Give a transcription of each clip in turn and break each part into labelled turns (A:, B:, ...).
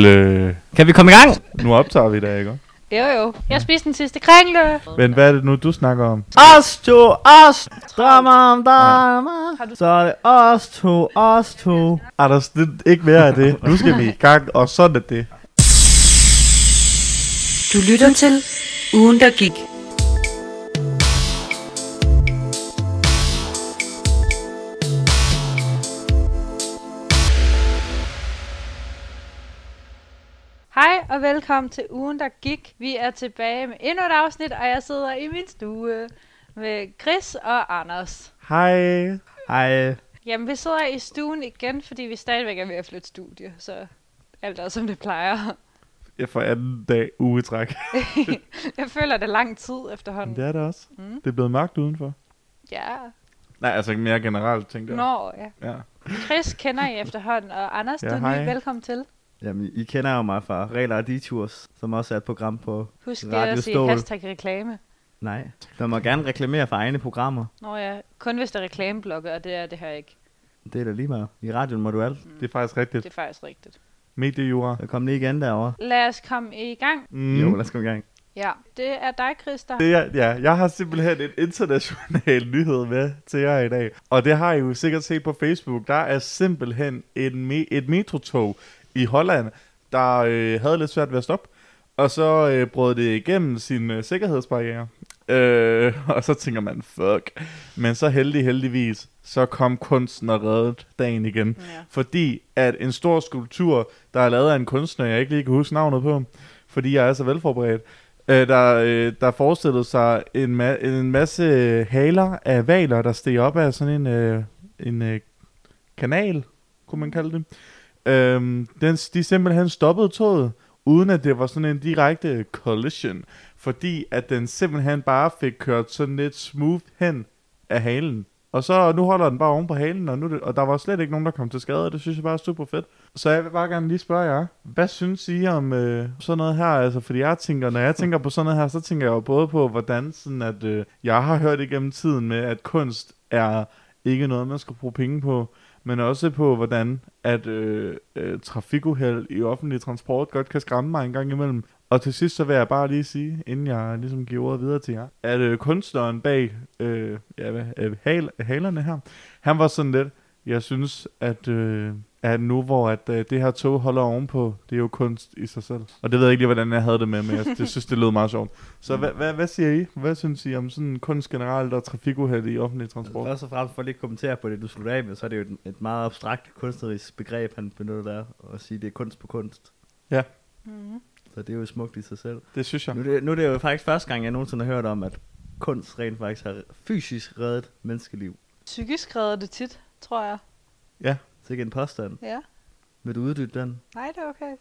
A: Bølle.
B: Kan vi komme i gang?
A: Nu optager vi det, ikke?
C: Jo jo, jeg spiste den sidste kringle.
A: Men hvad er det nu, du snakker om?
B: Os to, os, drømmer om drømmer. Så er det os to, os to.
A: Er der slet ikke mere af det? Nu skal vi i gang, og sådan er det.
D: Du lytter til Ugen, der gik.
C: Hej og velkommen til ugen, der gik. Vi er tilbage med endnu et afsnit, og jeg sidder i min stue med Chris og Anders.
A: Hej.
B: Hej.
C: Jamen, vi sidder i stuen igen, fordi vi stadigvæk er ved at flytte studie, så alt er som det plejer.
A: Jeg får anden dag ugetræk.
C: jeg føler, det er lang tid
A: Men
C: efterhånden.
A: det er det også.
C: Mm.
A: Det er blevet mørkt udenfor.
C: Ja.
A: Nej, altså ikke mere generelt, tænkte jeg.
C: Nå, ja.
A: Ja.
C: Chris kender I efterhånden, og Anders,
A: Ja,
C: du er
A: hej.
C: ny. Velkommen til.
B: Jamen, I kender jo mig fra Regler og Detours, som også er et program på...
C: Husk lige
B: Radio
C: at sige
B: Stål.
C: hashtag reklame.
B: Nej, der må gerne reklamere for egne programmer.
C: Nå ja, kun hvis der er reklameblokke, og det er det her ikke.
B: Det er da lige meget. I radioen må du alt.
A: Det er faktisk
C: Det
A: rigtigt.
C: er faktisk rigtigt.
A: Mediejura.
B: Så kom lige igen derovre.
C: Lad os komme i gang.
A: Mm.
B: Jo, lad os komme i gang.
C: Ja, det er dig, Chris, der
A: Det er, ja, jeg har simpelthen en international nyhed med til jer i dag. Og det har I jo sikkert set på Facebook. Der er simpelthen en me- et metrotog i Holland, der øh, havde lidt svært ved at stoppe. Og så øh, brød det igennem sin øh, sikkerhedsbarriere. Øh, og så tænker man, fuck. Men så heldig, heldigvis, så kom kunsten og reddede dagen igen.
C: Ja.
A: Fordi at en stor skulptur, der er lavet af en kunstner, jeg ikke lige kan huske navnet på, fordi jeg er så velforberedt, øh, der, øh, der forestillede sig en, ma- en masse haler af valer, der steg op af sådan en, øh, en øh, kanal, kunne man kalde det. Øhm, den, de simpelthen stoppede toget, uden at det var sådan en direkte collision, fordi at den simpelthen bare fik kørt sådan lidt smooth hen af halen. Og så nu holder den bare oven på halen, og, nu, er det- og der var slet ikke nogen, der kom til skade, og det synes jeg bare er super fedt. Så jeg vil bare gerne lige spørge jer, hvad synes I om øh, sådan noget her? Altså, fordi jeg tænker, når jeg tænker på sådan noget her, så tænker jeg jo både på, hvordan sådan at, øh, jeg har hørt igennem tiden med, at kunst er ikke noget, man skal bruge penge på, men også på, hvordan at øh, øh, trafikuheld i offentlig transport godt kan skræmme mig en gang imellem. Og til sidst så vil jeg bare lige sige, inden jeg ligesom giver ordet videre til jer, at øh, kunstneren bag øh, ja, hvad, øh, hal, halerne her, han var sådan lidt, jeg synes, at, øh, at nu hvor at, øh, det her tog holder ovenpå, det er jo kunst i sig selv. Og det ved jeg ikke lige, hvordan jeg havde det med, men jeg det synes, det lød meget sjovt. Så hvad, hvad, hvad siger I? Hvad synes I om sådan kunst generelt og trafikuheld i offentlig transport?
B: Først og fremmest for lige at kommentere på det, du slutter af med, så er det jo et, et meget abstrakt kunstnerisk begreb, han benytter der, og sige, det er kunst på kunst.
C: Mm-hmm.
B: Så det er jo smukt i sig selv.
A: Det synes jeg.
B: Nu, er det, nu er det jo faktisk første gang, jeg nogensinde har hørt om, at kunst rent faktisk har fysisk reddet menneskeliv.
C: Psykisk redder det tit, tror jeg.
B: Så ikke en påstand.
C: Ja.
B: Vil du uddybe den?
C: Nej, det er okay.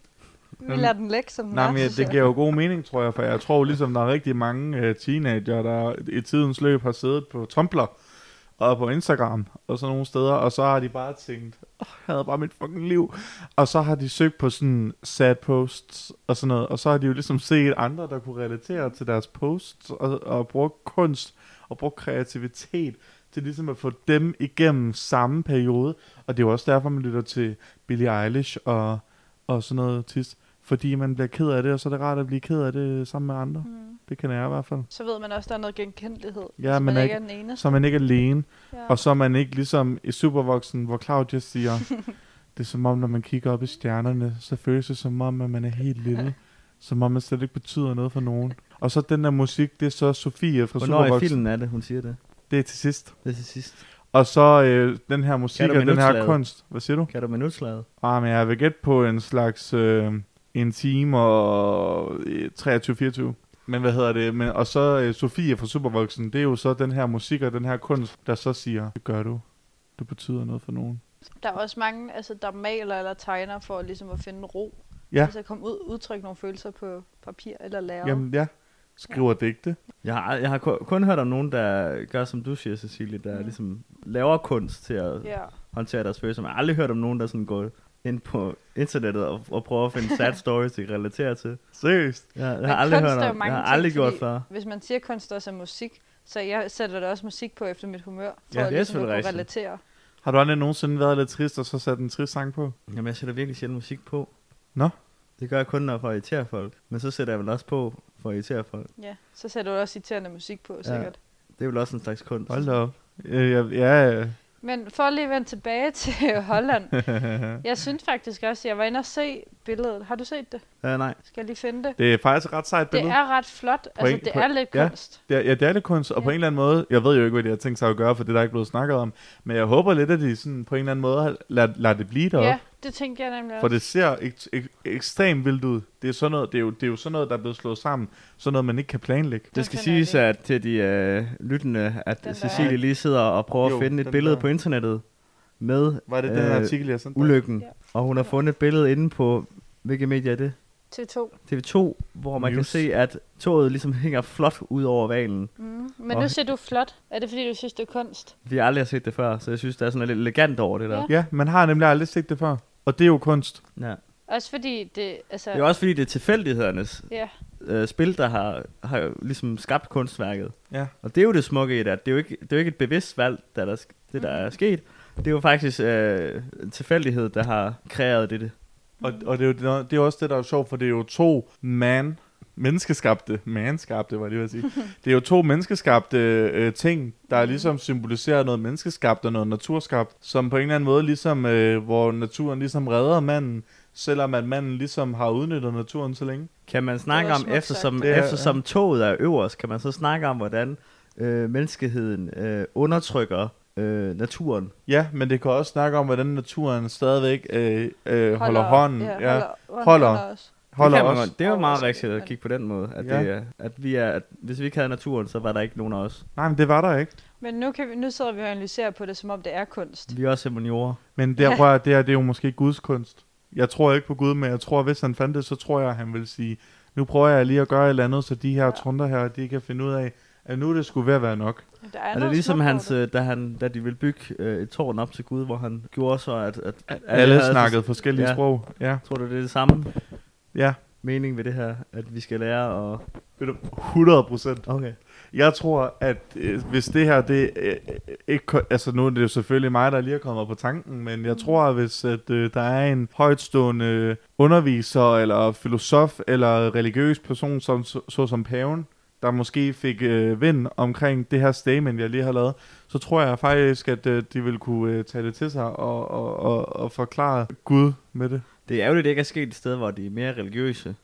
C: Vi
A: Jamen,
C: lader den ligge, som den
A: Nej,
C: er,
A: men
C: synes
A: det
C: jeg.
A: giver jo god mening, tror jeg, for jeg tror ligesom, der er rigtig mange øh, teenager, der i tidens løb har siddet på Tumblr og på Instagram og sådan nogle steder, og så har de bare tænkt, oh, jeg havde bare mit fucking liv. Og så har de søgt på sådan sad posts og sådan noget, og så har de jo ligesom set andre, der kunne relatere til deres posts og, og bruge kunst og bruge kreativitet til ligesom at få dem igennem samme periode. Og det er jo også derfor, man lytter til Billie Eilish og, og sådan noget tis. Fordi man bliver ked af det, og så er det rart at blive ked af det sammen med andre.
C: Mm.
A: Det kan jeg i hvert fald.
C: Så ved man også, der er noget genkendelighed,
A: Ja,
C: hvis
A: man
C: man
A: er
C: ikke er den eneste.
A: Så er man ikke alene,
C: Ja.
A: og så er man ikke ligesom i Supervoksen, hvor Claudia siger, det er som om, når man kigger op i stjernerne, så føles det som om, at man er helt lille. Som om, man slet ikke betyder noget for nogen. Og så den der musik, det er så Sofie fra
B: Hvornår i
A: Supervoksen.
B: filmen er det, hun siger det?
A: Det er til sidst.
B: Det er til sidst.
A: Og så øh, den her musik
B: Kan du
A: og den her
B: minutslaget?
A: kunst. Hvad siger du?
B: Kan du minutslaget?
A: Ah, men jeg vil gætte på en slags øh, en time og øh, 23-24. Men hvad hedder det? Men, og så øh, Sofie fra Supervoksen, det er jo så den her musik og den her kunst, der så siger, det gør du. Det betyder noget for nogen.
C: Der er også mange, altså, der maler eller tegner for ligesom at finde ro.
A: Ja.
C: Altså komme ud, udtrykke nogle følelser på papir eller lærred.
A: Jamen ja, skriver digte.
B: Jeg har, jeg har ku- kun hørt om nogen, der gør, som du siger, Cecilie, der
C: Mm.
B: mm. ligesom laver kunst til at yeah.
C: Ja.
B: håndtere deres følelser. Men Jeg har aldrig hørt om nogen, der sådan går ind på internettet og, og prøver at finde sad stories, de kan relatere til.
A: Seriøst?
B: Jeg, jeg
C: Men
B: har aldrig
C: kunst
B: hørt
C: er jo
B: om, jeg
C: mange
B: har
C: ting,
B: aldrig gjort
C: fordi-
B: før.
C: Hvis man siger, at kunst også er musik, så jeg sætter da også musik på efter mit humør, for
B: det er
C: at, ligesom at
B: selvfølgelig
C: kunne
B: rigtigt.
C: relatere.
A: Har du aldrig nogensinde været lidt trist, og så sat en trist sang på?
B: Jamen, jeg sætter virkelig sjældent musik på.
A: Nå.
B: Det gør jeg kun, når jeg for at irritere folk. Men så sætter jeg vel også på for at irritere folk.
C: Ja, så sætter du også irriterende musik på, sikkert.
B: Det er vel også en slags kunst.
A: Hold da op. Øh, jeg, ja, øh,
C: Men for lige at vende tilbage til Holland. jeg synes faktisk også, at jeg var inde og se billedet. Har du set det?
B: Ja, nej.
C: Skal jeg lige finde det?
A: det er faktisk et ret sejt
C: Det
A: billede.
C: er ret flot. Altså,
A: Point-
C: det er
A: point-
C: lidt
A: ja.
C: kunst.
A: Det er, ja, det er lidt kunst, og ja. på
C: Ja.
A: en eller anden måde, jeg ved jo ikke, hvad de har tænkt sig at gøre, for det er der ikke blevet snakket om, men jeg håber lidt, at de sådan på en eller anden måde har- lader, lader det blive deroppe,
C: Ja,
A: ja.
C: det tænkte jeg nemlig
A: for
C: også.
A: det ser ek- ek- ekstremt vildt ud. Det er, sådan noget, det, er jo, det er jo sådan noget, der er blevet slået sammen, sådan noget, man ikke kan planlægge.
B: Det skal
C: Den finder jeg
B: siges at til de øh, lyttende, at
C: Den der.
B: Cecilie lige sidder og prøver
A: Jo,
B: at finde et
A: den
B: billede
A: der.
B: på internettet med
A: Var det øh, den artikel, jeg sendte? dig?
B: ulykken.
C: Ja.
B: Og hun har fundet et billede inde på, hvilke medier er det?
C: T2.
B: TV2, hvor man
A: News.
B: kan se, at toget ligesom hænger flot ud over valen.
C: Mm. Men
B: Og-
C: nu siger du flot. Er det fordi, du synes, det er kunst?
B: Vi har aldrig set det før, så jeg synes, der er sådan lidt elegant over det der.
A: Ja, man har nemlig aldrig set det før, og det er jo kunst.
B: Ja. Ja.
C: Også fordi det, altså...
B: Det er også fordi, det er tilfældighedernes
C: Ja,
B: øh, spil, der har, har jo ligesom skabt kunstværket.
A: Ja.
B: Og det er jo det smukke i det, at det er jo ikke, det er jo ikke et bevidst valg, der, der, sk- det, der er sket. Det er jo faktisk øh, en tilfældighed, der har kreeret det.
A: Og, og det, er jo, det er jo også det, der er sjovt, for det er jo to man, menneskeskabte, manskabte, var det, jeg vil sige. det er jo to menneskeskabte øh, ting, der ligesom symboliserer noget menneskeskabt og noget naturskabt, som på en eller anden måde ligesom, øh, hvor naturen ligesom redder manden, selvom at manden ligesom har udnyttet naturen så længe.
B: Kan man snakke
C: var
B: om,
C: smukt
B: eftersom,
A: Det er-
B: eftersom toget er øverst, kan man så snakke om, hvordan øh, menneskeheden øh, undertrykker øh, naturen?
A: Ja, men det kan også snakke om, hvordan naturen stadigvæk øh, øh, holder, holder
C: op.
A: hånden,
C: Ja,
A: ja, ja, holder,
C: holder, hånden
A: Holder.
C: os.
A: holder
B: det, kan man
A: os.
B: godt- det er jo meget
C: Overraskende.
B: rigtigt at kigge på den måde, at,
A: Ja.
B: det, er- at, vi er, at hvis vi ikke havde naturen, så var der ikke nogen af os.
A: Nej, men det var der ikke.
C: Men nu, kan vi, nu sidder vi og analyserer på det, som om det er kunst.
B: Vi er også humaniorer.
A: Men der rører, det, her, det er jo måske Guds kunst. Jeg tror ikke på Gud, men jeg tror, at hvis han fandt det, så tror jeg, at han ville sige, nu prøver jeg lige at gøre et eller andet, så de her ja.
C: Ja.
A: trunder her, de kan finde ud af, at nu er det skulle ved at være nok.
C: Der er,
B: Er det
C: noget
B: ligesom
C: smukt over
B: hans,
C: det.
B: øh, da, han, da de ville bygge øh, et tårn op til Gud, hvor han gjorde så, at... at, at
A: Alle
B: havde-
A: snakkede forskellige ja.
B: ja.
A: sprog. Ja,
B: Tror du, det er det samme
A: ja.
B: mening ved det her, at vi skal lære at...
A: Ved du, 100 procent.
B: Okay.
A: Jeg tror, at øh, hvis det her, det øh, ikke, ko- altså nu er det jo selvfølgelig mig, der lige er kommet på tanken, men
B: Mm.
A: jeg tror, at hvis at, øh, der er en højtstående øh, underviser, eller filosof, eller religiøs person, som, så, så som paven, der måske fik øh, vind omkring det her statement, jeg lige har lavet, så tror jeg faktisk, at øh, de vil kunne øh, tage det til sig og, og, og, og forklare Gud med det.
B: Det er ærgerligt, det ikke er sket et sted, hvor de er mere religiøse.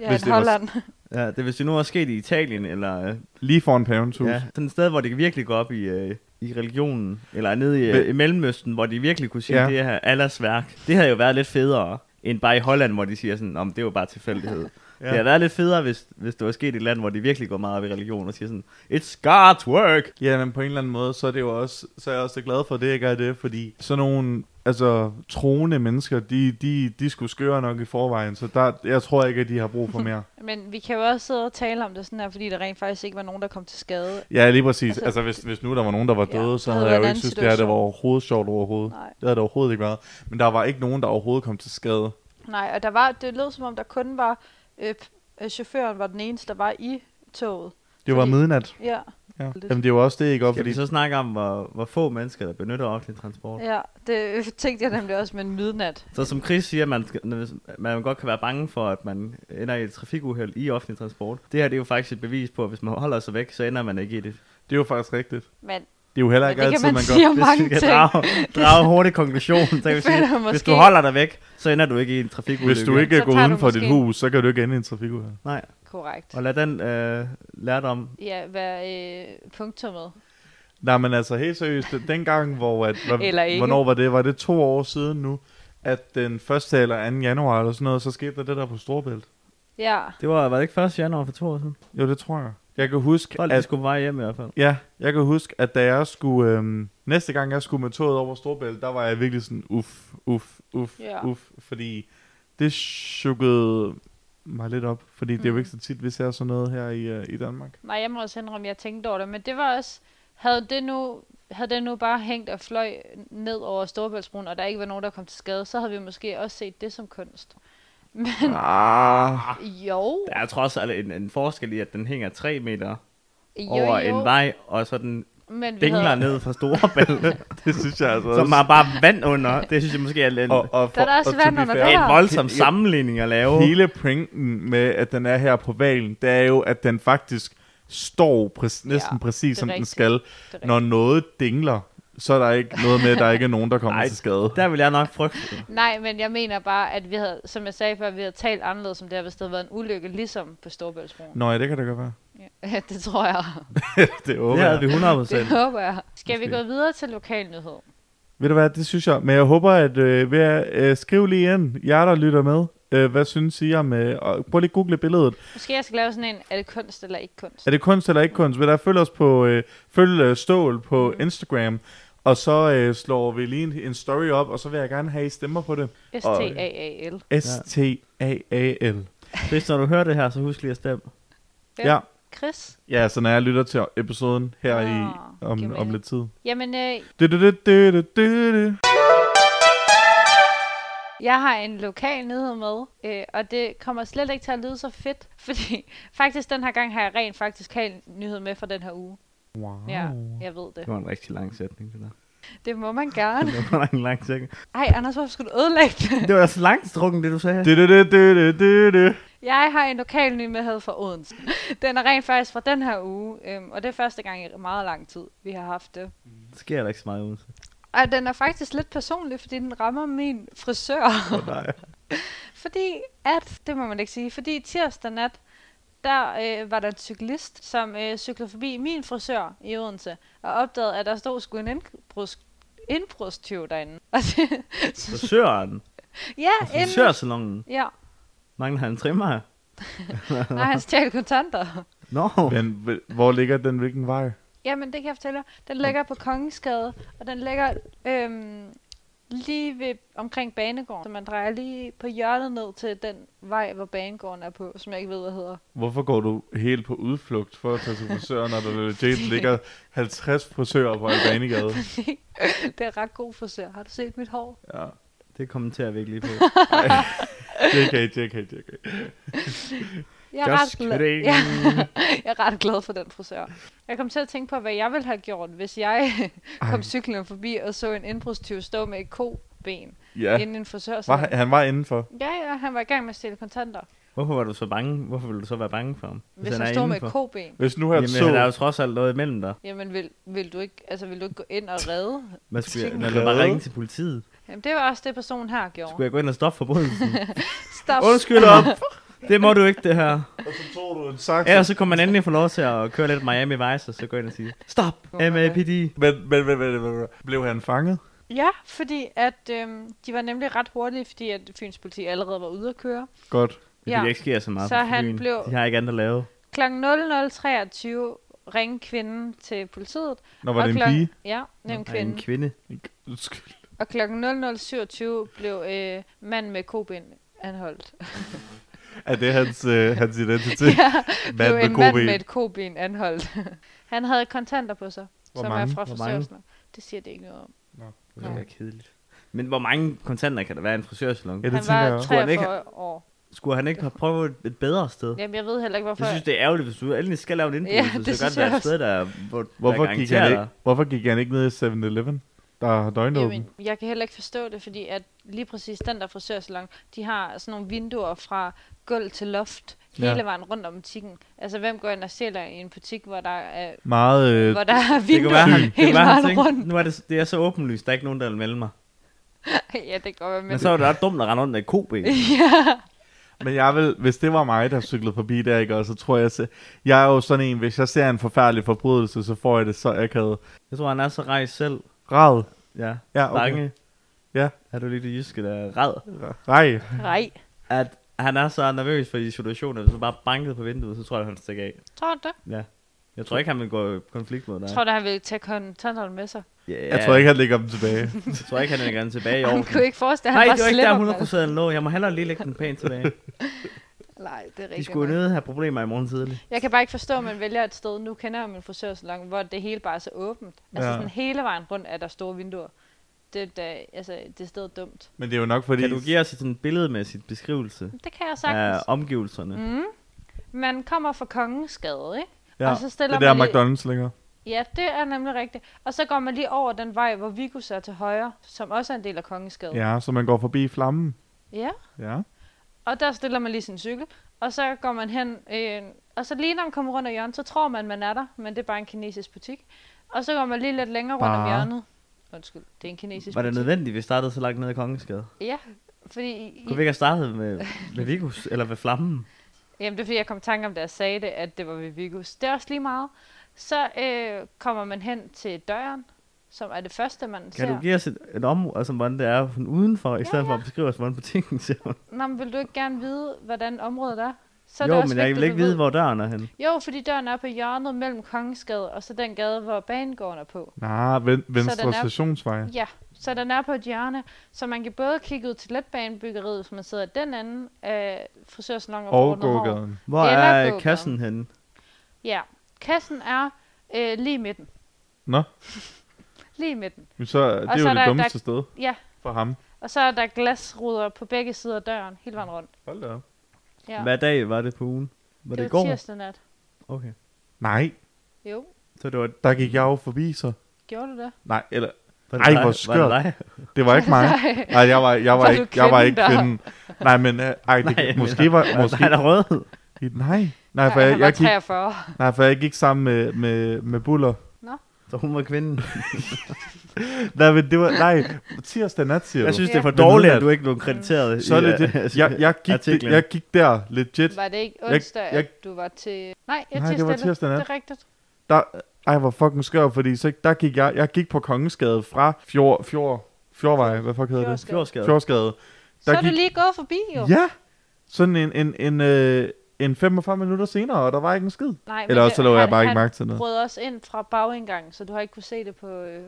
C: Ja,
A: øh, hvis
C: en
A: det var-
C: Holland.
B: Ja, det hvis det nu var sket i Italien, eller... Øh,
A: Lige foran pavens hus.
B: ja, sådan et sted, hvor det virkelig går op i... Øh, i religionen, eller nede i,
A: Ved-
B: øh, i Mellemøsten, hvor de virkelig kunne sige,
A: Ja.
B: ja. det her Allahs værk, det havde jo været lidt federe, end bare i Holland, hvor de siger sådan, om det var bare tilfældighed. Ja. Det havde været lidt federe, hvis, hvis det var sket i et land, hvor de virkelig går meget op i religion og siger sådan, it's God's work.
A: Ja, men på en eller anden måde, så er, det jo også, så er jeg også glad for, at det ikke er det, fordi sådan nogle altså, troende mennesker, de, de, de skulle skøre nok i forvejen, så der, jeg tror ikke, at de har brug for mere.
C: Men vi kan jo også sidde og tale om det sådan her, fordi der rent faktisk ikke var nogen, der kom til skade.
A: Ja, lige præcis. Altså,
C: Altså-
A: altså hvis, hvis nu der var nogen, der var
C: Ja,
A: døde, ja, så
C: det
A: havde
C: havde
A: jeg jo
C: været en
A: ikke
C: anden
A: synes, det her det var
C: situation.
A: overhovedet sjovt overhovedet.
C: Nej.
A: Det havde det overhovedet ikke været. Men der var ikke nogen, der overhovedet kom til skade.
C: Nej, og der var, det lød som om, der kun var, øh, p- øh, chaufføren var den eneste, der var i toget.
A: Det var
C: Fordi-
A: midnat.
C: Ja,
A: Ja.
C: Lidt.
A: Jamen, det var også det, ikke? Og
B: Skal
A: Fordi
B: vi så snakke om, hvor, hvor få mennesker, der benytter offentlig transport?
C: ja, det øh, tænkte jeg nemlig også med midnat.
B: Så som Chris siger, man, skal- når man godt kan være bange for, at man ender i et trafikuheld i offentlig transport. Det her det er jo faktisk et bevis på, at hvis man holder sig væk, så ender man ikke i det.
A: det er jo faktisk rigtigt.
C: Men
A: Det er jo heller
C: Men
A: ikke
C: det kan
A: altid,
C: man
A: man,
C: sige
A: gør.
C: om-
B: Hvis
C: Mange
B: vi kan
C: ting.
B: drage, drage en hurtig konklusion, så kan vi
C: Det føler jeg
B: sige, hvis
C: måske-
B: du holder dig væk, så ender du ikke i en trafikulykke.
A: Hvis du ikke
C: Så
A: går
C: tager du
A: uden for dit
C: måske-
A: hus, så kan du ikke ende i en trafikuheld.
B: Nej,
C: korrekt.
B: og lad den øh, lærdom...
C: Ja, være øh, punktummet.
A: Nej, men altså helt seriøst, den- dengang, hvor, at, hvor,
C: Eller ikke.
A: hvornår var det? Var det to år siden nu, at den 1. eller 2. januar eller sådan noget, så skete der det der på Storbælt?
C: Ja,
B: Det var, var det ikke 1. januar for to år siden?
A: Jo, det tror jeg. Jeg kan huske,
B: Folk de
A: at,
B: skulle veje hjem i hvert fald.
A: ja, jeg kan huske, at da jeg skulle, øhm, næste gang jeg skulle med toget over Storbælt, der var jeg virkelig sådan, uff, uff, uff,
C: Ja.
A: uff, fordi det chukkede mig lidt op, fordi mm. det er jo
C: Mm.
A: ikke så tit, vi ser sådan noget her i, øh, i Danmark.
C: nej, jeg må også indrømme, at jeg tænkte over det, men det var også, havde det nu, havde det nu bare hængt og fløj ned over Storebæltsbroen, og der ikke var nogen, der kom til skade, så havde vi måske også set det som kunst.
A: Ah,
C: Jo,
B: Der er trods alt en, en forskel i, at den hænger 3 meter
C: jo,
B: over
C: jo.
B: en vej, og så den
C: Men vi
B: dingler
C: havde,
B: ned fra Storebælt,
A: Det synes jeg altså
B: som
A: også.
B: har bare vand under. Det synes jeg måske er lidt
A: Og, og for,
C: Der er der også
A: og to
C: vand
A: be
C: under
A: fair,
C: der.
B: en voldsom
A: He- he-
B: sammenligning at lave.
A: Hele pointen med, at den er her på valen, det er jo, at den faktisk står præ- næsten ja,
C: Ja,
A: præcis,
C: det er
A: som den
C: rigtigt.
A: skal.
C: Det er
A: Når noget dingler, så er der ikke noget med, at der ikke er nogen, der kommer
B: Ej,
A: til skade.
B: Der vil jeg nok frygte det.
C: Nej, men jeg mener bare, at vi havde, som jeg sagde før, vi havde talt anderledes om det her, hvis det havde været en ulykke, ligesom på Storbæltsbroen.
A: Nå ja, det kan det godt være.
C: Ja, det tror jeg.
A: Det
B: Det
A: håber
B: havde
A: jeg.
B: vi 100 procent.
C: Det håber jeg. Skal vi
B: Måske.
C: gå videre til lokalnyhed?
A: Ved du hvad, det synes jeg. Men jeg håber, at øh, ved at, øh, skriv lige ind, jer der lytter med, øh, hvad synes I om... Øh, og prøv lige at google billedet.
C: Måske jeg skal lave sådan en, er det kunst eller ikke kunst?
A: Er det kunst eller ikke kunst? Vil der følge os på øh, følg øh, Stål på Instagram, og så øh, slår vi lige en, en story op, og så vil jeg gerne have, at I stemmer på det.
C: S-T-A-A-L.
A: S-T-A-A-L.
B: Hvis når du hører det her, så husk lige at stemme.
A: Ja. ja.
C: Chris?
A: Ja, så når jeg lytter til episoden her i,
C: Nå, giver
A: om, om
C: mening.
A: lidt tid.
C: Jamen, øh,
A: Du, du, du, du, du, du, du.
C: Jeg har en lokal nyhed med, øh, og det kommer slet ikke til at lyde så fedt, fordi faktisk den her gang har jeg rent faktisk lokal nyhed med fra den her uge.
A: Wow.
C: Oh. Ja, jeg ved det.
B: Det var en rigtig lang sætning, det der.
C: Det må man gerne.
B: Det var en lang sætning.
C: Ej, Anders, hvorfor skulle du ødelægge det?
B: Det var så langt strukken, det du sagde.
A: Du, du, du, du, du, du.
C: Jeg har en lokal nyhed fra Odense. Den er rent faktisk fra den her uge, øhm, og det er første gang i meget lang tid, vi har haft det.
B: Det sker der ikke så meget uden.
C: Og den er faktisk lidt personlig, fordi den rammer min frisør.
B: Oh, nej.
C: Fordi at, det må man ikke sige, fordi tirsdag nat, der øh, var der en cyklist, som øh, cyklede forbi min frisør i Odense, og opdagede, at der stod sgu en indbruds, indbrudstyv derinde. Og det,
B: Frisøren.
C: ja, inden,
B: Frisørsalongen.
C: ja,
B: Mangler han en trimmer?
C: nej, han stjal kontanter.
B: Nå. No.
A: Men hv- hvor ligger den? Hvilken vej?
C: Jamen, det kan jeg fortælle jer. Den ligger på Kongensgade, og den ligger øhm, lige ved, omkring Banegården. Så man drejer lige på hjørnet ned til den vej, hvor Banegården er på, som jeg ikke ved, hvad hedder.
A: Hvorfor går du helt på udflugt for at tage til frisøren, når der legit ligger 50 frisører på Albanigade?
C: det er ret god frisør. Har du set mit hår?
A: Ja.
B: Det kommenterer vi ikke lige på.
A: JK, JK, JK.
C: Jeg er,
B: Just
C: ret glad.
B: kidding.
C: Ja, jeg er ret glad for den frisør. Jeg kom til at tænke på, hvad jeg ville have gjort, hvis jeg kom cyklen forbi og så en indbrudstyv stå med et koben ja.
A: Ja,
C: inden en frisør.
A: var, han- han var indenfor.
C: Ja, ja, han var i gang med at stjæle kontanter,
B: Hvorfor var du så bange? Hvorfor ville du så være bange for ham?
C: hvis, han, stod med et koben.
A: Hvis nu her
B: Jamen, så... der er jo
A: så...
B: trods alt noget imellem dig.
C: Jamen, vil, vil, du ikke, altså, vil du ikke gå ind og redde?
B: Hvad skulle jeg,
C: Tænk.
B: lad mig bare ringe til politiet.
C: Jamen, det var også det, personen her gjorde.
B: Skulle jeg gå ind og stoppe forbrydelsen?
C: Stop.
B: Undskyld op. Det må du ikke, det her.
A: Og så tog du en sakse.
B: Ellers så kommer man endelig få lov til at køre lidt Miami Vice, og så gå ind og sige, stop, MAPD.
A: Men, men, men, men, men, men, blev han fanget?
C: Ja, fordi at øhm, de var nemlig ret hurtige, fordi at Fyns politi allerede var ude at køre.
A: Godt.
B: Fordi ja. der ikke sker så meget
C: Så
B: på
C: han
B: Fyn.
C: blev-
B: De har ikke andet at lave.
C: Kl. 0023 ringede kvinden til politiet.
A: Når var
C: og
A: det en
C: klok-
A: pige?
C: Ja, det er en
B: Kvinde. En
C: kvinde.
B: kvinde.
A: Undskyld.
C: Og kl. 0027 blev øh, manden med kobind anholdt.
A: Er det hans, øh, hans identitet? ja,
C: blev en mand med
A: med
C: et kobind anholdt. Han havde kontanter på sig,
A: Hvor
C: som
A: mange?
C: er fra
B: Hvor mange?
C: frisørsen. Det siger det ikke noget om.
B: Det
C: Nå.
B: er kedeligt. Men hvor mange kontanter kan der være i en frisørsalon?
A: Ja, det
C: Han
A: tænker jeg
C: var
A: også.
B: Tror han ikke,
C: 43 år.
B: Skulle han ikke have prøvet et- et bedre sted?
C: Jamen, jeg ved heller ikke, hvorfor.
B: Jeg synes, det er ærgerligt, hvis du endelig skal lave en
C: Ja,
B: indbrydelse,
C: det
B: så kan
C: synes
B: det være
C: jeg
B: et sted, der, hvor, der
A: Hvorfor gik,
B: garanterer
A: han
B: dig.
A: ikke, hvorfor gik han ikke ned i 7-Eleven? Der er døgnåben.
C: Jamen, jeg kan heller ikke forstå det, fordi at lige præcis den der frisørsalon, de har sådan nogle vinduer fra gulv til loft
A: Ja.
C: hele vejen rundt om butikken. Altså, hvem går ind og stjæler i en butik, hvor der er,
A: Meget... Øh,
C: hvor der er
B: Det kan
C: vinduer
B: være, han, det kan
C: hele
B: være, han
C: vejen rundt?
B: tænkte, nu er det, det er så åbenlyst, der er ikke nogen, der vil melde mig.
C: ja, det kan godt være,
B: Men så er det ret dumt at rende rundt med et koben.
A: Men jeg vil, hvis det var mig, der cyklede forbi der, ikke, og så tror jeg, så, jeg er jo sådan en, hvis jeg ser en forfærdelig forbrydelse, så får jeg det så akavet.
B: Jeg tror, han er så rejst selv.
A: Rad.
B: Ja,
A: Ja, Ah, okay.
B: bange.
A: Ja.
B: Er du lige det jyske, der er red?
A: Nej.
C: Nej,
B: At han er så nervøs for de situationer, hvis han bare bankede på vinduet, så tror jeg, han stikker af.
C: tror du det?
B: Ja. Jeg tror ikke, han vil gå i konflikt med dig.
C: Tror du, han ville tage kontanterne med sig?
B: ja,
A: Jeg tror ikke, han lægger dem tilbage.
B: jeg tror ikke, han vil gerne tilbage i år.
C: Han kunne ikke forestille, at
B: Nej,
C: han
B: det var
C: bare
B: ikke der
C: slipper altså.
B: 100 procent lå. Jeg må hellere lige lægge den pænt tilbage.
C: Nej, det er
B: De
C: rigtigt.
B: skulle jo
C: nok.
B: nødt have problemer i morgen tidlig.
C: Jeg kan bare ikke forstå, at man vælger et sted. Nu kender jeg min frisørsalon, hvor det hele bare er så åbent. Altså
A: Ja.
C: sådan hele vejen rundt er der store vinduer. Det, er da, altså, det er stedet dumt.
A: Men det er jo nok fordi...
B: Kan du give os sådan en billedmæssigt beskrivelse
C: Det kan jeg
B: af
C: sagtens.
B: omgivelserne?
C: Mm. Man kommer fra Kongensgade, ikke?
A: ja,
C: og så stiller
A: det der
C: man lige-
A: McDonald's længere.
C: Ja, det er nemlig rigtigt. Og så går man lige over den vej, hvor Vigus er til højre, som også er en del af Kongeskade.
A: Ja, så man går forbi flammen.
C: ja.
A: Ja.
C: Og der stiller man lige sin cykel, og så går man hen, øh, og så lige når man kommer rundt om hjørnet, så tror man, man er der, men det er bare en kinesisk butik. Og så går man lige lidt længere rundt om
A: Bare.
C: hjørnet. Undskyld, det er en kinesisk
B: Var det
C: butik.
B: nødvendigt, vi startede så langt ned i Kongensgade?
C: Ja, fordi... I,
B: Kunne vi ikke have startet med, med Vigus, eller med Flammen?
C: Jamen, det er fordi, jeg kom i tanke om, da jeg sagde det, at det var ved Vigus. Det er også lige meget. Så øh, kommer man hen til døren, som er det første, man
B: Kan
C: ser.
B: du give os et, et område, altså hvordan det er sådan udenfor, i
C: Ja,
B: stedet for
C: ja.
B: at beskrive os, hvordan butikken ser ud?
C: Nå, men vil du ikke gerne vide, hvordan området er? Så er
B: Jo,
C: det også
B: men jeg
C: vigtigt,
B: vil ikke
C: du ved-
B: vide, hvor døren er henne.
C: Jo, fordi døren er på hjørnet mellem Kongensgade og så den gade, hvor banegården er på.
A: Nej, ven, venstre
C: den er-
A: stationsvej.
C: Ja, så den er på et hjørne, så man kan både kigge ud til letbanebyggeriet, hvis man sidder i den anden af frisørsalongen og
A: Og
C: ordner hår.
A: gågaden.
B: Hvor
C: Eller
B: er øh,
C: gågaden.
B: kassen henne?
C: Ja, kassen er øh, lige i midten.
A: Nå,
C: Lige i midten.
A: men så, det er
C: så
A: jo
C: er
A: det
C: der-
A: dummeste sted
C: Ja,
A: for ham.
C: og så er der glasruder på begge sider af døren, hele vejen rundt.
A: Hold da op.
C: Ja.
B: Hvad dag var det på ugen? Var det,
C: det
B: i går?
C: tirsdag nat.
B: Okay.
A: Nej,
C: Jo,
B: Så det var...
A: der gik jeg jo forbi så.
C: gjorde du det?
A: Nej, eller,
B: var det
A: Ej,
B: dig?
A: hvor skørt.
B: Var det dig?
A: det var ikke mig. Nej, jeg var, jeg var,
C: Var du
A: ikke, jeg var ikke
C: kvinden
A: kvinden. Nej, men øh, ej, det,
B: Nej,
A: nej, måske var... Måske,
B: Måske. Nej, der er rød.
A: nej, nej, for
C: Nej,
A: jeg,
C: han var
A: jeg, gik,
C: 43.
A: nej, for jeg gik sammen med, med, med Buller.
B: Så hun var kvinden.
A: Nej, men det var... Nej, tirsdag nat, siger
B: Jeg
A: du.
B: synes,
C: Ja.
B: det er for
A: Men
B: dårligt,
A: nu-
B: at du ikke blev krediteret.
A: Så
B: i,
A: er det
B: øh,
A: det. Jeg, jeg, gik,
B: artiklen.
A: jeg gik der legit.
C: Var det ikke
A: Jeg-
C: onsdag, jeg,
A: jeg-
C: at du var til... Nej, jeg
A: Nej, det var tirsdag nat.
C: Det er rigtigt.
A: Der, ej, hvor fucking skør, fordi så, der gik jeg, jeg gik på Kongensgade fra Fjord, Fjord, Fjordvej, hvad fuck hedder det?
B: Fjordskade.
A: Fjordsgade.
C: Så er du
A: gik-
C: lige gået forbi, jo.
A: Ja, sådan en, en, en, øh, en 45 minutter senere, og der var ikke en skid.
C: Nej, men øh,
A: Eller også
C: det-
A: så lå jeg
C: han-
A: bare ikke
C: han
A: mærke til noget.
C: brød også ind fra bagindgangen, så du har ikke kunne se det på... Øh,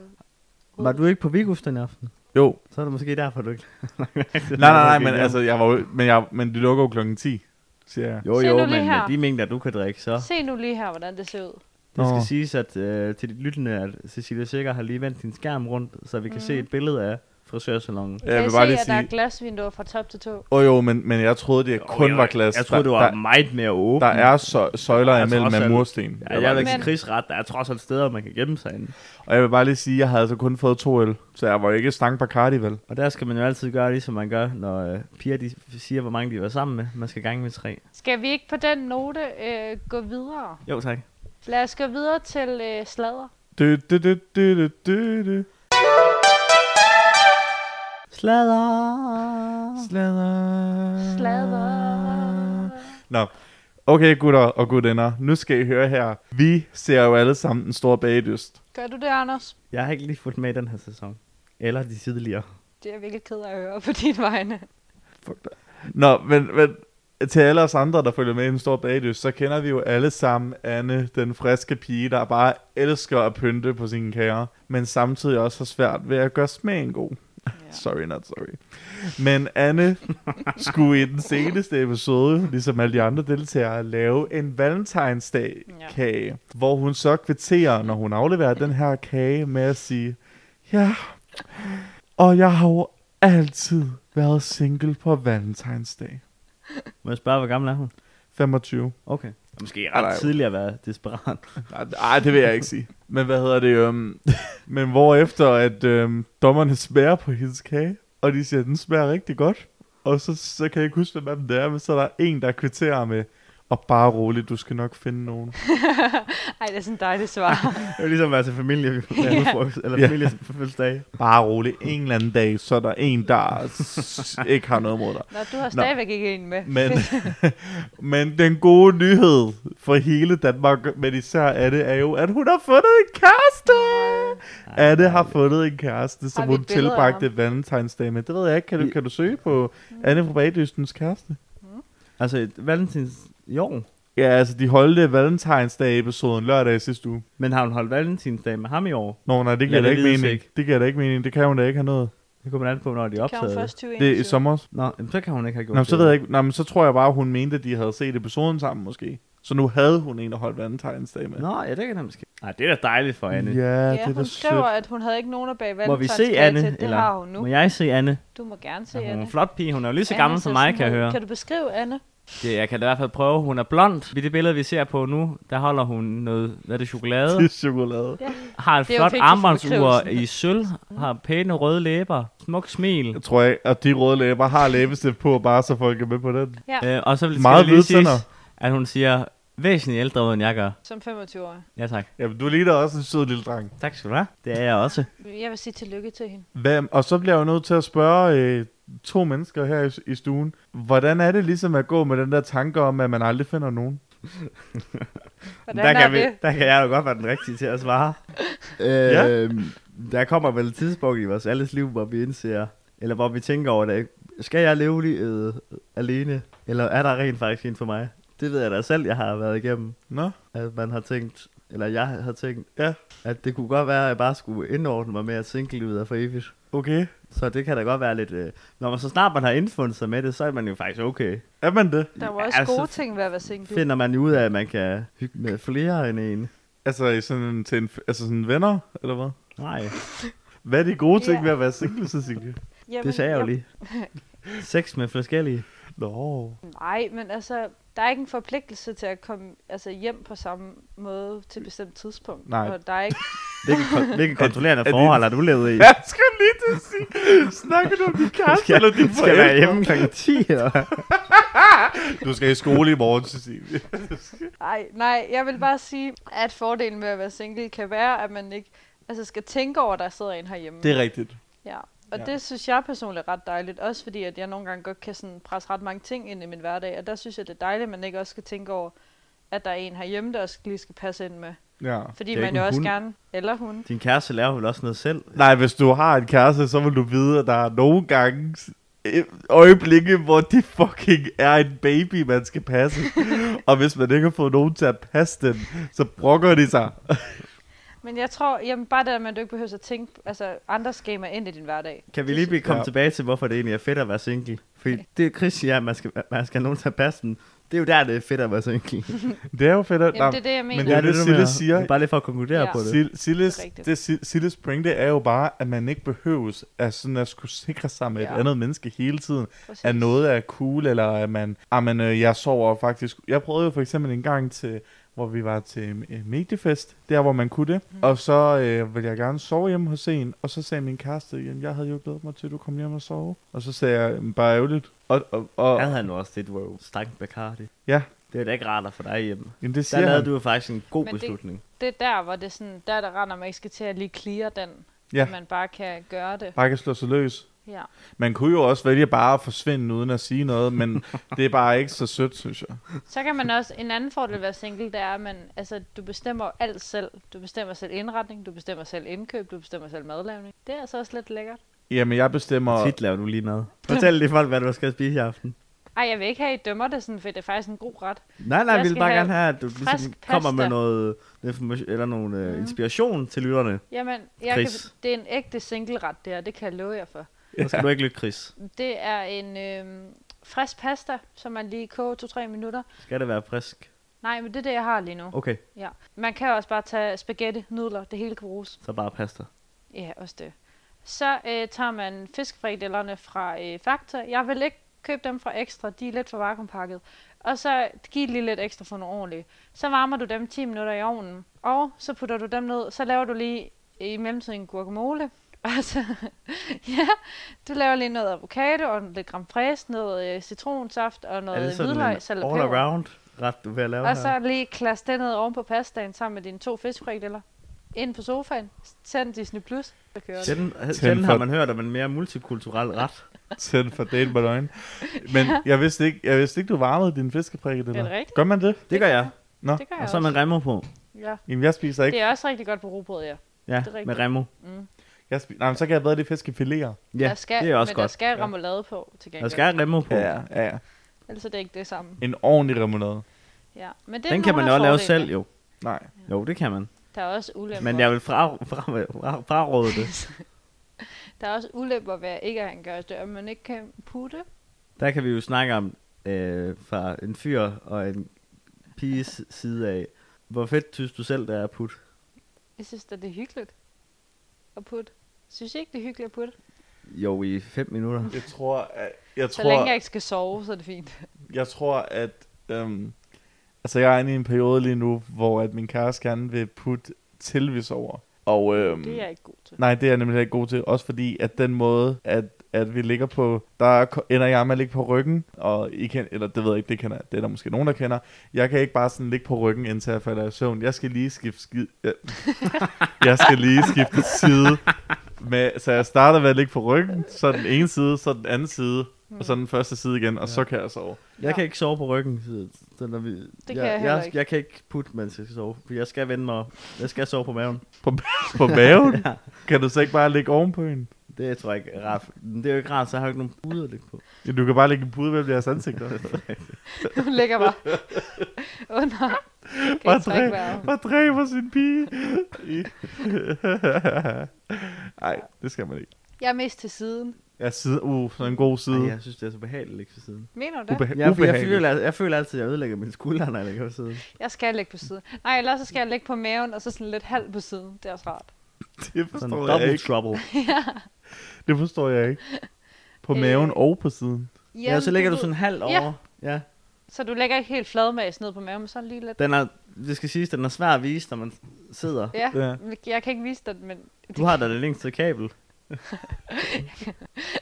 B: Var du ikke på Vigus den aften?
A: Jo.
B: Så er det måske derfor, du ikke...
A: Nej, nej, nej, men altså, jeg var jo, men, jeg, men det lukker jo klokken 10, siger jeg.
B: Jo,
C: Se
B: jo,
C: nu
B: men
C: lige her.
B: med de mængder, du kan drikke, så...
C: Se nu lige her, hvordan det ser ud.
B: Det skal
A: Nå.
B: siges at, øh, til de lyttende, at Cecilia Sikker har lige vendt sin skærm rundt, så vi kan mm. se et billede af frisørsalongen.
C: Jeg,
A: Jeg vil
C: kan
A: bare
C: se,
A: lige
C: at der er
A: sige,
C: glasvinduer fra top til to.
A: åh oh, jo, men, men jeg troede, det kun
B: jeg,
A: var glas.
B: Jeg tror,
A: Der-
B: det var
A: der,
B: meget mere åbent.
A: der er så, søjler
B: Der er
A: imellem
B: trods
A: af
B: alt-
A: mursten.
B: Ja, jeg er ikke
C: Men-
B: krigsret. Der er trods alt steder, man kan gemme sig inde.
A: Og jeg vil bare lige sige, at jeg havde altså kun fået to øl, så jeg var jo ikke stang Bacardi, vel?
B: Og der skal man jo altid gøre, ligesom man gør, når øh, piger de siger, hvor mange de var sammen med. Man skal gange med tre.
C: Skal vi ikke på den note øh, gå videre?
B: Jo, tak.
C: Lad os gå videre til øh, sladder.
A: Du, du, du, du, du, du, du.
B: Slader.
A: Sladder.
C: Sladder.
A: Nå, okay gutter og gutinder, nu skal I høre her. Vi ser jo alle sammen den store bagdyst.
C: Gør du det, Anders?
B: Jeg har ikke lige fulgt med i den her sæson. Eller de tidligere.
C: Det er jeg virkelig ked af at høre på dine vegne.
A: Nå, men, men til alle os andre, der følger med i den store bagdyst, så kender vi jo alle sammen Anne, den friske pige, der bare elsker at pynte på sine kager, men samtidig også har svært ved at gøre smagen god.
C: Ja.
A: Sorry, not sorry. Men Anne skulle i den seneste episode, ligesom alle de andre deltagere, lave en valentinsdag-kage, ja. hvor hun så kvitterer, når hun afleverer den her kage, med at sige, ja, og jeg har jo altid været single på valentinsdag.
B: Må jeg spørge, hvor gammel er hun?
A: 25.
B: Okay. Måske
A: Ej, nej.
B: ret tidligere at være desperat.
A: Nej, nej, det vil jeg ikke sige. Men hvad hedder det? Øhm, men hvorefter, at øhm, dommerne smager på hendes kage, og de siger, at den smager rigtig godt. Og så, så kan jeg ikke huske, hvem det er, men så er der en, der kvitterer med, og bare roligt, du skal nok finde nogen.
C: Ej, det er sådan et dejligt svar.
B: Det er ligesom at være til familie, eller
A: Ja.
B: familie på fødselsdag.
A: Bare roligt, en eller anden dag, så er der en, der s- ikke har noget mod dig.
C: Nå, du har stadigvæk ikke en med.
A: Men, men den gode nyhed for hele Danmark, men især Anne, er jo, at hun har fundet en kæreste! Anne har fundet en kæreste, som
C: Har vi
A: hun
C: et billede af
A: tilbragte valentinsdag med. Det ved jeg ikke. Kan du, kan du søge på
C: Mm.
A: Anne fra Bagdystens kæreste?
B: Altså, et valentins... Jo.
A: Ja, altså de holdte valentinsdag-episoden lørdag i sidste uge.
B: Men har hun holdt valentinsdag med ham i år?
A: Nå, nej, det
B: Lad
A: giver da
B: det
A: ikke
B: lide
A: mening.
B: sig.
A: Det giver da ikke mening. Det kan hun da ikke have noget.
B: Det kommer an på, når de er
C: kan hun
B: optaget.
C: først
A: Det er i
C: 2021?
A: sommer.
B: Nå, jamen, så kan hun ikke have gjort
A: Nå,
B: det.
A: så ved jeg ikke. Nå, men så tror jeg bare, hun mente, at de havde set episoden sammen måske. Så nu havde hun en, der holdt valentinsdag med.
B: Nå, ja, det kan han måske. Nej, det er da dejligt for Anne.
A: Ja,
C: Ja,
A: det er da
C: hun
A: sødt.
C: skriver, at hun havde ikke nogen at bag
B: Må vi se Anne?
C: Til. Det
B: eller
C: har hun nu.
B: Må jeg se Anne?
C: Du må gerne se
B: Ja, hun er
C: Anne.
B: en flot pige. Hun er jo lige så
C: Anne
B: gammel som mig,
C: Sissenhøj.
B: kan jeg høre.
C: Kan du beskrive Anne?
B: Det, jeg kan da i hvert fald prøve. Hun er blond. I det billede, vi ser på nu, der holder hun noget, hvad er det, chokolade?
A: Det er chokolade.
C: Ja.
B: Har et
C: Det er jo
B: flot
C: vigtigt for
B: armbåndsur
C: beskrivelsen.
B: i sølv. Har pæne røde læber. Smuk smil.
A: Jeg tror ikke, at de røde læber har læbestift på, bare så folk er med på den.
B: Øh, og så skal
A: Meget
B: det lige
A: hvide
B: siges,
A: tænder.
B: at hun siger, væsentligt ældre, end jeg gør.
C: Som 25-årig.
B: Ja tak.
A: Jamen, du ligner også en sød lille dreng.
B: Tak skal du have. Det er jeg også.
C: Jeg vil sige tillykke til hende.
A: Hvad, og så bliver jeg jo nødt til at spørge øh, to mennesker her i, i stuen. Hvordan er det ligesom at gå med den der tanke om, at man aldrig finder nogen?
C: Hvordan der er
B: kan
C: det?
B: Vi, der kan jeg jo godt være den rigtige til at svare. øh,
A: Ja.
B: Der kommer vel et tidspunkt i vores alles liv, hvor vi indser, eller hvor vi tænker over det. ikke? Skal jeg leve livet alene, eller er der rent faktisk en for mig? Det ved jeg da selv, jeg har været igennem.
A: Nå?
B: At man har tænkt, eller jeg har tænkt,
A: Ja.
B: at det kunne godt være, at jeg bare skulle indordne mig med, at single-livet er for evigt.
A: Okay.
B: Så det kan da godt være lidt... Øh, når man så snart man har indfundet sig med det, så er man jo faktisk okay.
A: Er man det?
C: Der var også
B: Altså,
C: gode ting ved at være single.
B: Finder man jo ud af, at man kan hygge med flere end en.
A: Altså i sådan, en- til en, f- altså sådan venner, eller hvad?
B: Nej.
A: Hvad er de gode ting
C: Ja.
A: ved at være single, Cecilie?
C: Jamen,
B: Det sagde jeg jo lige. Sex med forskellige.
A: Nå.
C: Nej, men altså, der er ikke en forpligtelse til at komme altså, hjem på samme måde til et bestemt tidspunkt.
A: Nej.
C: Og der er ikke...
B: Hvilken, kon- hvilken kontrollerende
A: er det-
B: forhold har du levet i?
A: Jeg skal lige til at sige, snakker du om din kæreste
B: Skal,
A: eller din
B: skal jeg være
A: forældre?
B: hjemme kl. 10? Eller? hvad?
A: Du skal i skole i morgen, Cecilie.
C: Nej, nej, jeg vil bare sige, at fordelen ved at være single kan være, at man ikke altså, skal tænke over, at der sidder en herhjemme.
A: Det er rigtigt.
C: Ja. Og
A: Ja.
C: ja. det synes jeg personligt er ret dejligt, også fordi at jeg nogle gange godt kan sådan presse ret mange ting ind i min hverdag, og der synes jeg, det er dejligt, at man ikke også skal tænke over, at der er en herhjemme, der også lige skal passe ind med.
A: Ja.
C: Fordi
B: Det er
C: man
B: ikke
C: jo
B: en
C: også
B: hund.
C: gerne, eller hun.
B: Din kæreste laver vel også noget selv?
A: Nej, hvis du har en kæreste, så vil du vide, at der er nogle gange øh, øjeblikke, hvor det fucking er en baby, man skal passe. og hvis man ikke har fået nogen til at passe den, så brokker de sig.
C: Men jeg tror, jamen bare det, der med, at du ikke behøver at tænke, altså andre skemaer ind i din hverdag.
B: Kan vi lige blive komme
A: Ja.
B: ja. tilbage til, hvorfor det egentlig er fedt at være single? Fordi det Chris siger, at man skal, man skal have nogen til at passe den. Det er jo der, det er fedt at være single.
A: Det er jo fedt. at-
C: Jamen, det er det, jeg
A: men
C: mener.
A: det er det,
B: du
A: Sille
B: mener.
A: siger.
B: Bare lige for at konkludere
C: Ja.
B: ja. på det.
A: Sil- Silles,
C: Det er rigtigt.
A: det, Sil- Silles pointe er jo bare, at man ikke behøves at, sådan at skulle sikre sig med ja. et
C: Ja.
A: andet menneske hele tiden.
C: Præcis.
A: at noget er cool, eller at man, ah, men, øh, jeg sover faktisk. Jeg prøvede jo for eksempel en gang til, hvor vi var til øh, mediefest, der hvor man kunne det, mm. og så øh, ville jeg gerne sove hjemme hos en, og så sagde min kæreste, jamen jeg havde jo glædet mig til, at du kom hjem og sove, og så sagde jeg, "Jamen, bare ærgerligt, og, og, og
B: Jeg
A: ja.
B: havde nu også det, du var jo stank Bacardi.
A: ja,
B: Det er da ikke rart at få dig hjemme.
A: jamen, det
B: Der
A: siger
B: lavede
A: han. Du...
B: du jo faktisk en god
C: Men det-
B: beslutning.
C: Det er der, hvor det er sådan, der er der render, man ikke skal til at lige clear den.
A: Ja.
C: Man bare kan gøre det.
A: Bare kan slå sig løs.
C: Ja.
A: Man kunne jo også vælge bare at forsvinde uden at sige noget, men det er bare ikke så sødt, synes jeg.
C: Så kan man også, en anden fordel ved at være single, det er, at man, altså, du bestemmer jo alt selv. Du bestemmer selv indretning, du bestemmer selv indkøb, du bestemmer selv madlavning. Det er altså også lidt lækkert.
A: Jamen, jeg bestemmer...
B: Tit laver du lige mad. Fortæl lige folk, hvad du skal spise i aften.
C: Ej, jeg vil ikke have, at I dømmer det sådan, for det er faktisk en god ret.
B: Nej, nej,
C: Jeg
B: vi vil
C: skal
B: bare
C: have
B: gerne have, at du ligesom
C: frisk
B: kommer med
C: pasta. Mm.
B: noget information, eller nogle øh, inspiration til lytterne.
C: Jamen, jeg
B: Chris.
C: kan, det er en ægte single-ret, det her. Det kan jeg love jer for.
B: Så skal du ikke lytte, Chris.
C: Det er en øh, frisk pasta, som man lige koger 2-3 minutter.
B: Skal det være frisk?
C: Nej, men det er det, jeg har lige nu.
B: Okay,
C: Ja. Man kan også bare tage spaghetti, nudler, det hele kan bruges.
B: så bare pasta.
C: Ja, også det. Så øh, tager man fiskfrikadellerne fra øh, Fakta. Jeg vil ikke købe dem fra Ekstra, de er lidt for vakuumpakket. Og så giv lige lidt ekstra for nogle ordentlige. Så varmer du dem 10 minutter i ovnen, og så putter du dem ned. Så laver du lige øh, i mellemtiden guacamole. Og så, ja, du laver lige noget avocado og lidt creme fraiche, noget øh, citronsaft og
B: er
C: noget
B: det sådan en
C: hvidløg, salt og
B: all
C: peber.
B: around ret, du vil lave
C: Og
B: her?
C: så lige klasse det ned oven på pastaen sammen med dine to fiskfrikadeller. Ind på sofaen, tænd Disney+, Plus, og kører det.
B: Sjældent, øh, sjældent
A: for-
B: har man hørt om en mere multikulturel ret.
A: Tænd for date ballon. Men jeg vidste ikke, jeg vidste ikke du varmede dine
C: Er
A: fiskeprikkedeller.
C: det rigtigt?
A: Gør man det?
B: Det gør jeg.
A: Nå.
C: Det gør jeg
B: Og så
C: også.
B: med remmer på.
C: Ja.
A: Jamen, jeg spiser ikke.
C: Det er også rigtig godt på rugbrød, ja.
B: Ja,
C: Det er rigtigt.
B: med remmer.
A: Jeg spi- Nej, men så kan jeg bedre det fiskefiléer.
B: Ja,
C: der skal,
B: det er også
C: men
B: godt.
C: der skal remoulade på til gengæld.
B: Der skal remmer på.
A: ja, ja.
C: Ellers er det ikke det samme.
A: En ordentlig remoulade.
C: Ja. Men det er
B: Den kan
C: nogle
B: man
C: af
B: jo lave
C: fordelene.
B: selv, jo.
A: Nej.
B: Jo, det kan man.
C: Der er også ulemper.
B: Men jeg vil fra- fra- fra- fraråde det.
C: Der er også ulemper ved at ikke at han gør det, at man ikke kan putte.
B: Der kan vi jo snakke om øh, fra en fyr og en piges side af. Hvor fedt synes du selv, der er put?
C: Jeg synes da, det er hyggeligt at putte. Synes jeg ikke, det er hyggeligt at putte?
B: Jo, i 5 minutter.
A: Jeg tror, at, jeg
C: Så
A: tror,
C: længe jeg ikke skal sove, så er det fint.
A: jeg tror, at... Øhm, altså, jeg er inde i en periode lige nu, hvor at min kæreste gerne vil putte tilvis over. Og, øhm,
C: Det er jeg ikke god til.
A: Nej, det er jeg nemlig heller ikke god til. Også fordi, at den måde, at, at vi ligger på... Der ko- ender jeg med at ligge på ryggen, og I kan, eller det ved jeg ikke, det, kender, det er der måske nogen, der kender. Jeg kan ikke bare sådan ligge på ryggen, indtil jeg falder i søvn. Jeg skal lige skifte skid... Jeg, jeg skal lige skifte side. Med, så jeg starter med at ligge på ryggen, så den ene side, så den anden side, og så den første side igen, og ja. så kan jeg sove.
B: Jeg kan ikke sove på ryggen. så- Så når vi, det
C: kan jeg heller
B: jeg,
C: ikke.
B: jeg, kan ikke putte, mens jeg skal sove. For jeg skal vende mig. om. Jeg skal sove på maven.
A: På, på maven? Kan du så ikke bare ligge ovenpå hende?
B: Det tror jeg ikke er rart. Det er jo ikke rart, så jeg har jeg ikke nogen pude at ligge på.
A: Ja, Du kan bare lægge en pude mellem jeres ansigter.
C: Hun ligger bare under. Kan
A: Bare
C: ikke trække
A: dræb,
C: vejret.
A: bare dræber sin pige. I- Ej, det skal man ikke.
C: Jeg er mest til siden.
A: Ja, side, uh, sådan en god side.
B: Ej,
A: ja.
B: jeg synes, det er så behageligt at ligge på siden.
C: Mener du det?
A: Ubeha-
B: Jeg, jeg,
A: ubehageligt.
B: føler, jeg føler altid, at jeg ødelægger mine skuldre, når jeg ligger på siden.
C: Jeg skal ligge på siden. Nej, ellers så skal jeg ligge på maven, og så sådan lidt halv på siden. Det er også rart.
A: det
B: Sådan
A: forstår jeg
B: double
A: ikke.
B: trouble.
A: Det forstår jeg ikke. På
C: Øh.
A: maven og på siden.
B: Ja, så
C: Jamen,
B: ligger du
C: ved-
B: sådan halv
C: Ja.
B: over. Ja.
C: Så du ligger ikke helt fladmæs ned på maven, men sådan lige lidt.
B: Den er, det skal siges, den er svær at vise, når man sidder.
C: Ja,
A: Ja.
C: men jeg kan ikke vise dig, men
B: Du har da det længste kabel.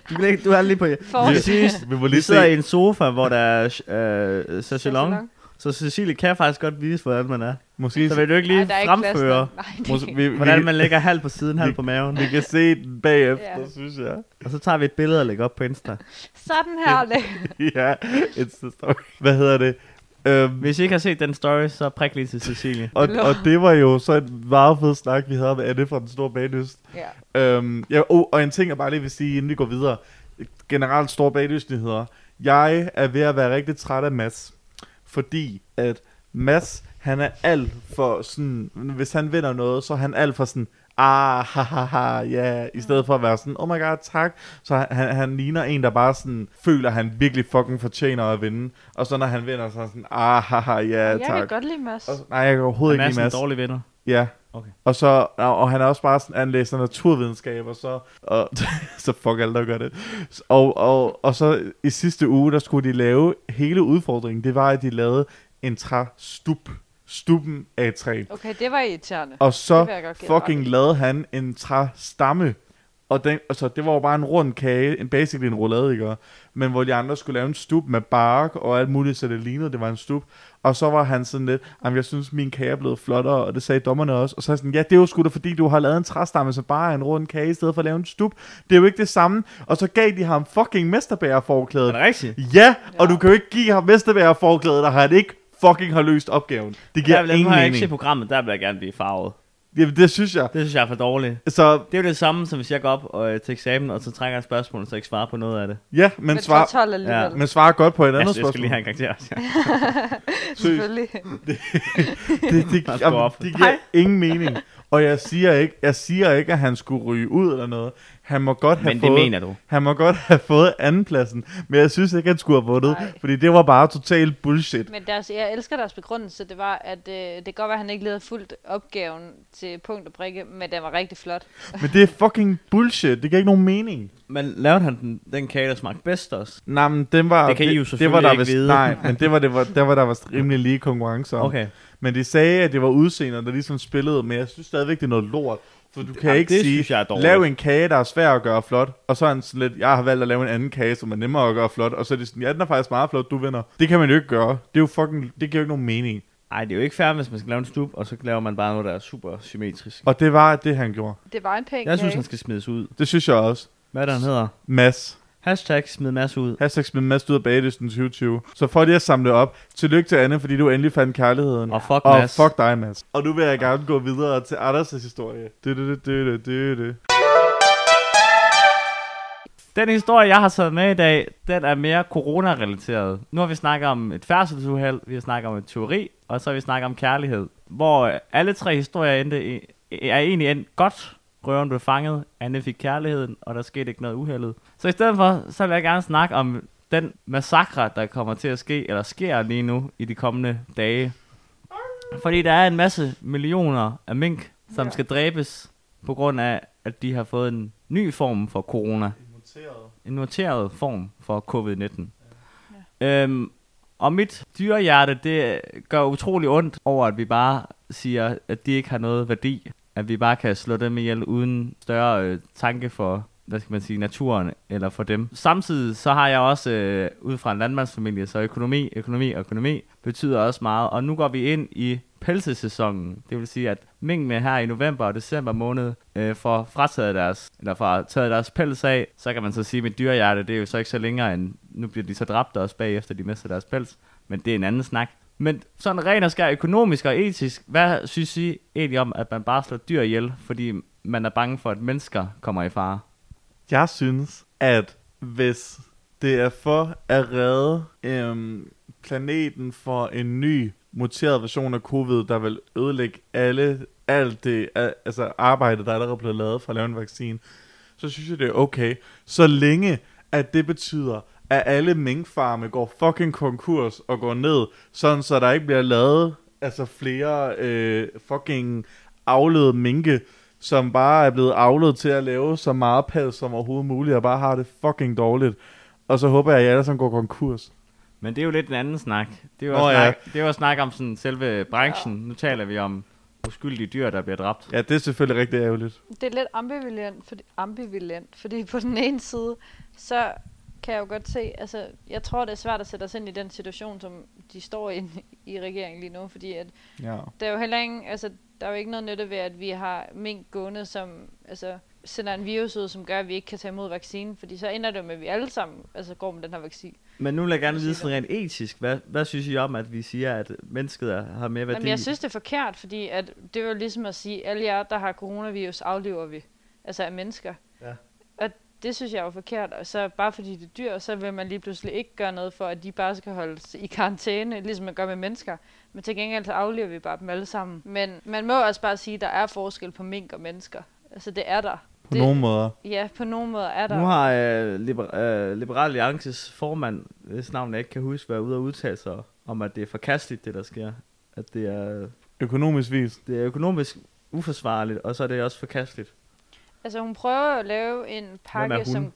B: du, kan ikke, du har lige på...
C: Forrest.
B: Det skal siges,
A: Vi må
B: vi
A: lige se.
B: sidder i en sofa, hvor der er øh, sachelong,
C: Chaiselong.
B: så Cecilie kan faktisk godt vise, hvordan man er.
A: Måske,
B: Så vil du ikke lige
C: Ej, der er ikke
B: fremføre,
C: plads nok. Nej, det
A: måske
C: er
A: vi, vi,
B: hvordan man lægger halv på siden, halv
A: Vi-
B: på maven.
A: vi kan se den bagefter,
C: Ja.
A: synes jeg.
B: Og så tager vi et billede og lægger op på Insta.
C: Sådan her ligger
A: ja, it's the story. Hvad hedder det? Øhm,
B: Hvis I ikke har set den story, så prik lige til Cecilie.
A: og, og det var jo så en meget fed snak, vi havde med Anne fra Den Store Baglyst.
C: ja.
A: Øhm, ja, oh, og en ting, jeg bare lige vil sige, inden vi går videre. Generelt store baglysnyheder. Jeg er ved at være rigtig træt af Mads. Fordi at Mads, han er alt for sådan... Hvis han vinder noget, så er han alt for sådan... Ah, ha, ha, ha, ja. I stedet for at være sådan, oh my god, tak. Så han- han, han ligner en, der bare sådan føler, at han virkelig fucking fortjener at vinde. Og så når han vinder, så er han sådan, ah, ha, ha, ja,
C: Jeg kan
A: tak.
C: godt lide Mads.
A: Og, nej, jeg kan overhovedet
B: Han
A: ikke
B: er
A: lide Mads.
B: sådan dårlige venner.
A: Ja.
B: Okay.
A: Og, så, og og han er også bare sådan, han læser naturvidenskab, og så, og, så fuck alle, der gør det. Og, og, og så i sidste uge, der skulle de lave hele udfordringen. Det var, at de lavede en træstup. Stuppen af et træ.
C: Okay, det var irriterende.
A: Og
C: Det vil
A: så
C: jeg godt give dig
A: fucking
C: ret
A: lavede han en træstamme. Og den, altså, det var jo bare en rund kage, en basically en roulade, ikke? Men hvor de andre skulle lave en stup med bark og alt muligt, så det lignede, det var en stup. Og så var han sådan lidt, jamen jeg synes, min kage er blevet flottere, og det sagde dommerne også. Og så er jeg sådan, ja, det er jo sgu da, fordi du har lavet en træstamme, så bare er en rund kage, i stedet for at lave en stup. Det er jo ikke det samme. Og så gav de ham fucking mesterbærerforklædet.
B: Er det rigtigt?
A: Ja, og du kan jo ikke give ham mesterbærerforklædet, der har han ikke fucking har løst opgaven. Det giver
B: Jeg,
A: ingen
B: vil, nu har jeg ikke set
A: mening.
B: programmet, der vil jeg gerne blive farvet.
A: Jamen, det synes jeg.
B: Det synes jeg er for dårligt.
A: Så
B: Det er jo det samme, som hvis jeg går op og, øh, til eksamen, og så trækker jeg et spørgsmål, og så ikke svarer på noget af det.
A: Ja, men,
C: Men
A: men svar,
C: 12 alligevel.
A: men svarer godt på et andet
B: Jeg, jeg skal
A: spørgsmål.
B: lige have en karakter. også.
A: Seriøst,
C: Selvfølgelig.
A: det, det,
B: Bare
A: det,
B: stå op.
A: det giver ingen mening. Og jeg siger, ikke, jeg siger ikke, at han skulle ryge ud eller noget. Han må godt have
B: Men det
A: fået,
B: mener du.
A: Han må godt have fået andenpladsen, men jeg synes ikke, han skulle have vundet,
C: Nej.
A: fordi det var bare total bullshit.
C: Men deres, jeg elsker deres begrundelse. Det var, at øh, det kan godt være, at han ikke lige havde fulgt opgaven til punkt og prikke, men den var rigtig flot.
A: Men det er fucking bullshit. Det giver ikke nogen mening.
B: Men lavede han den, den kage, der smagte bedst også?
A: Nej, men den var,
B: Det kan I jo
A: det var
B: selvfølgelig
A: der
B: ikke
A: vist,
B: vide.
A: Nej, men det var, det var, der var der var rimelig lige konkurrence om.
B: Okay.
A: Men de sagde, at det var udseender, der ligesom spillede, men jeg synes stadigvæk, det er noget lort. For du kan
B: Jamen,
A: ikke
B: det
A: sige,
B: synes jeg er dårligt.
A: lav en kage, der er svær at gøre flot, og så er han sådan lidt, jeg har valgt at lave en anden kage, som er nemmere at gøre flot, og så er det sådan, ja, den er faktisk meget flot, du vinder. Det kan man jo ikke gøre. Det er jo fucking, det giver jo ikke nogen mening.
B: Ej, det er jo ikke fair, hvis man skal lave en stup, og så laver man bare noget, der er super symmetrisk.
A: Og det var det, han gjorde.
C: Det var en pæn
B: Jeg synes,
C: kage.
B: han skal smides ud.
A: Det synes jeg også.
B: Hvad er det, han hedder?
A: Mads.
B: Hashtag smid masse ud.
A: Hashtag smid Mads ud af bagdysten 2020. Så for lige at samle op. Tillykke til Anne, fordi du endelig fandt kærligheden.
B: Og fuck
A: og
B: Mads.
A: fuck dig, Mads. Og nu vil jeg gerne gå videre til Anders' historie. Du, du, du, du, du, du.
B: Den historie, jeg har taget med i dag, den er mere corona-relateret. Nu har vi snakket om et færdselsuheld, vi har snakket om et teori, og så har vi snakket om kærlighed. Hvor øh, alle tre historier endte i, er egentlig endt godt. Røven blev fanget, Anne fik kærligheden, og der skete ikke noget uheldet. Så i stedet for, så vil jeg gerne snakke om den massakre, der kommer til at ske, eller sker lige nu i de kommende dage. Fordi der er en masse millioner af mink, som
C: Ja.
B: skal dræbes på grund af, at de har fået en ny form for corona en noteret form for covid-19. Ja. Øhm, Og mit dyrehjerte, det gør utrolig ondt over, at vi bare siger, at de ikke har noget værdi. At vi bare kan slå dem ihjel uden større øh, tanke for, hvad skal man sige, naturen eller for dem. Samtidig så har jeg også, øh, ud fra en landmandsfamilie, så økonomi, økonomi og økonomi betyder også meget. Og nu går vi ind i pelsesæsonen. Det vil sige, at minkene her i november og december måned øh, får frataget deres, eller får taget deres pels af, så kan man så sige, at mit dyrehjerte, det er jo så ikke så længere end, nu bliver de så dræbt også bagefter, de mister deres pels. Men det er en anden snak. Men sådan ren og skær økonomisk og etisk, hvad synes I egentlig om, at man bare slår dyr ihjel, fordi man er bange for, at mennesker kommer i fare?
A: Jeg synes, at hvis det er for at redde øhm, planeten for en ny muteret version af covid, der vil ødelægge alle, alt det al- altså arbejde, der allerede er blevet lavet for at lave en vaccine, så synes jeg, det er okay. Så længe, at det betyder, at alle minkfarme går fucking konkurs og går ned, sådan så der ikke bliver lavet altså flere øh, fucking aflede minke, som bare er blevet avlet til at lave så meget pels som overhovedet muligt, og bare har det fucking dårligt. Og så håber jeg, at I alle sammen går konkurs.
B: Men det er jo lidt en anden snak. Det er jo,
A: Nå,
B: Nå,
A: ja.
B: snak, det er jo at snakke om sådan selve branchen. Nu taler vi om uskyldige dyr, der bliver dræbt.
A: Ja, det er selvfølgelig rigtig ærgerligt.
C: Det er lidt ambivalent, fordi, ambivalent, fordi på den ene side, så kan jeg jo godt se, altså jeg tror det er svært at sætte os ind i den situation, som de står i i regeringen lige nu, fordi at
A: Ja.
C: der er jo heller ingen, altså der er jo ikke noget nytte ved, at vi har mink gående, som altså sender en virus ud, som gør, at vi ikke kan tage imod vaccinen, fordi så ender det jo med, at vi alle sammen altså, går med den her vaccine.
B: Men nu vil jeg gerne vide sådan rent etisk. Hvad, hvad synes I om, at vi siger, at mennesket er- har mere værdi?
C: Jamen, jeg synes, det er forkert, fordi at det er jo ligesom at sige, alle jer, der har coronavirus, aflever vi. Altså af mennesker.
A: Ja.
C: Og det synes jeg er jo forkert. Og så bare fordi det er dyr, så vil man lige pludselig ikke gøre noget for, at de bare skal holdes i karantæne, ligesom man gør med mennesker. Men til gengæld så aflever vi bare dem alle sammen. Men man må også bare sige, at der er forskel på mink og mennesker. Altså det er der.
A: På
C: det,
A: nogen måder.
C: Ja, på nogen måde er der.
B: Nu har øh, Liber- øh, Liberal Alliances formand, hvis navn jeg ikke kan huske, været ude og udtale sig om, at det er forkasteligt, det der sker. At det er,
A: Økonomisk vis.
B: det er økonomisk uforsvarligt, og så er det også forkasteligt.
C: Altså hun prøver at lave en pakke,
B: hun?
C: som...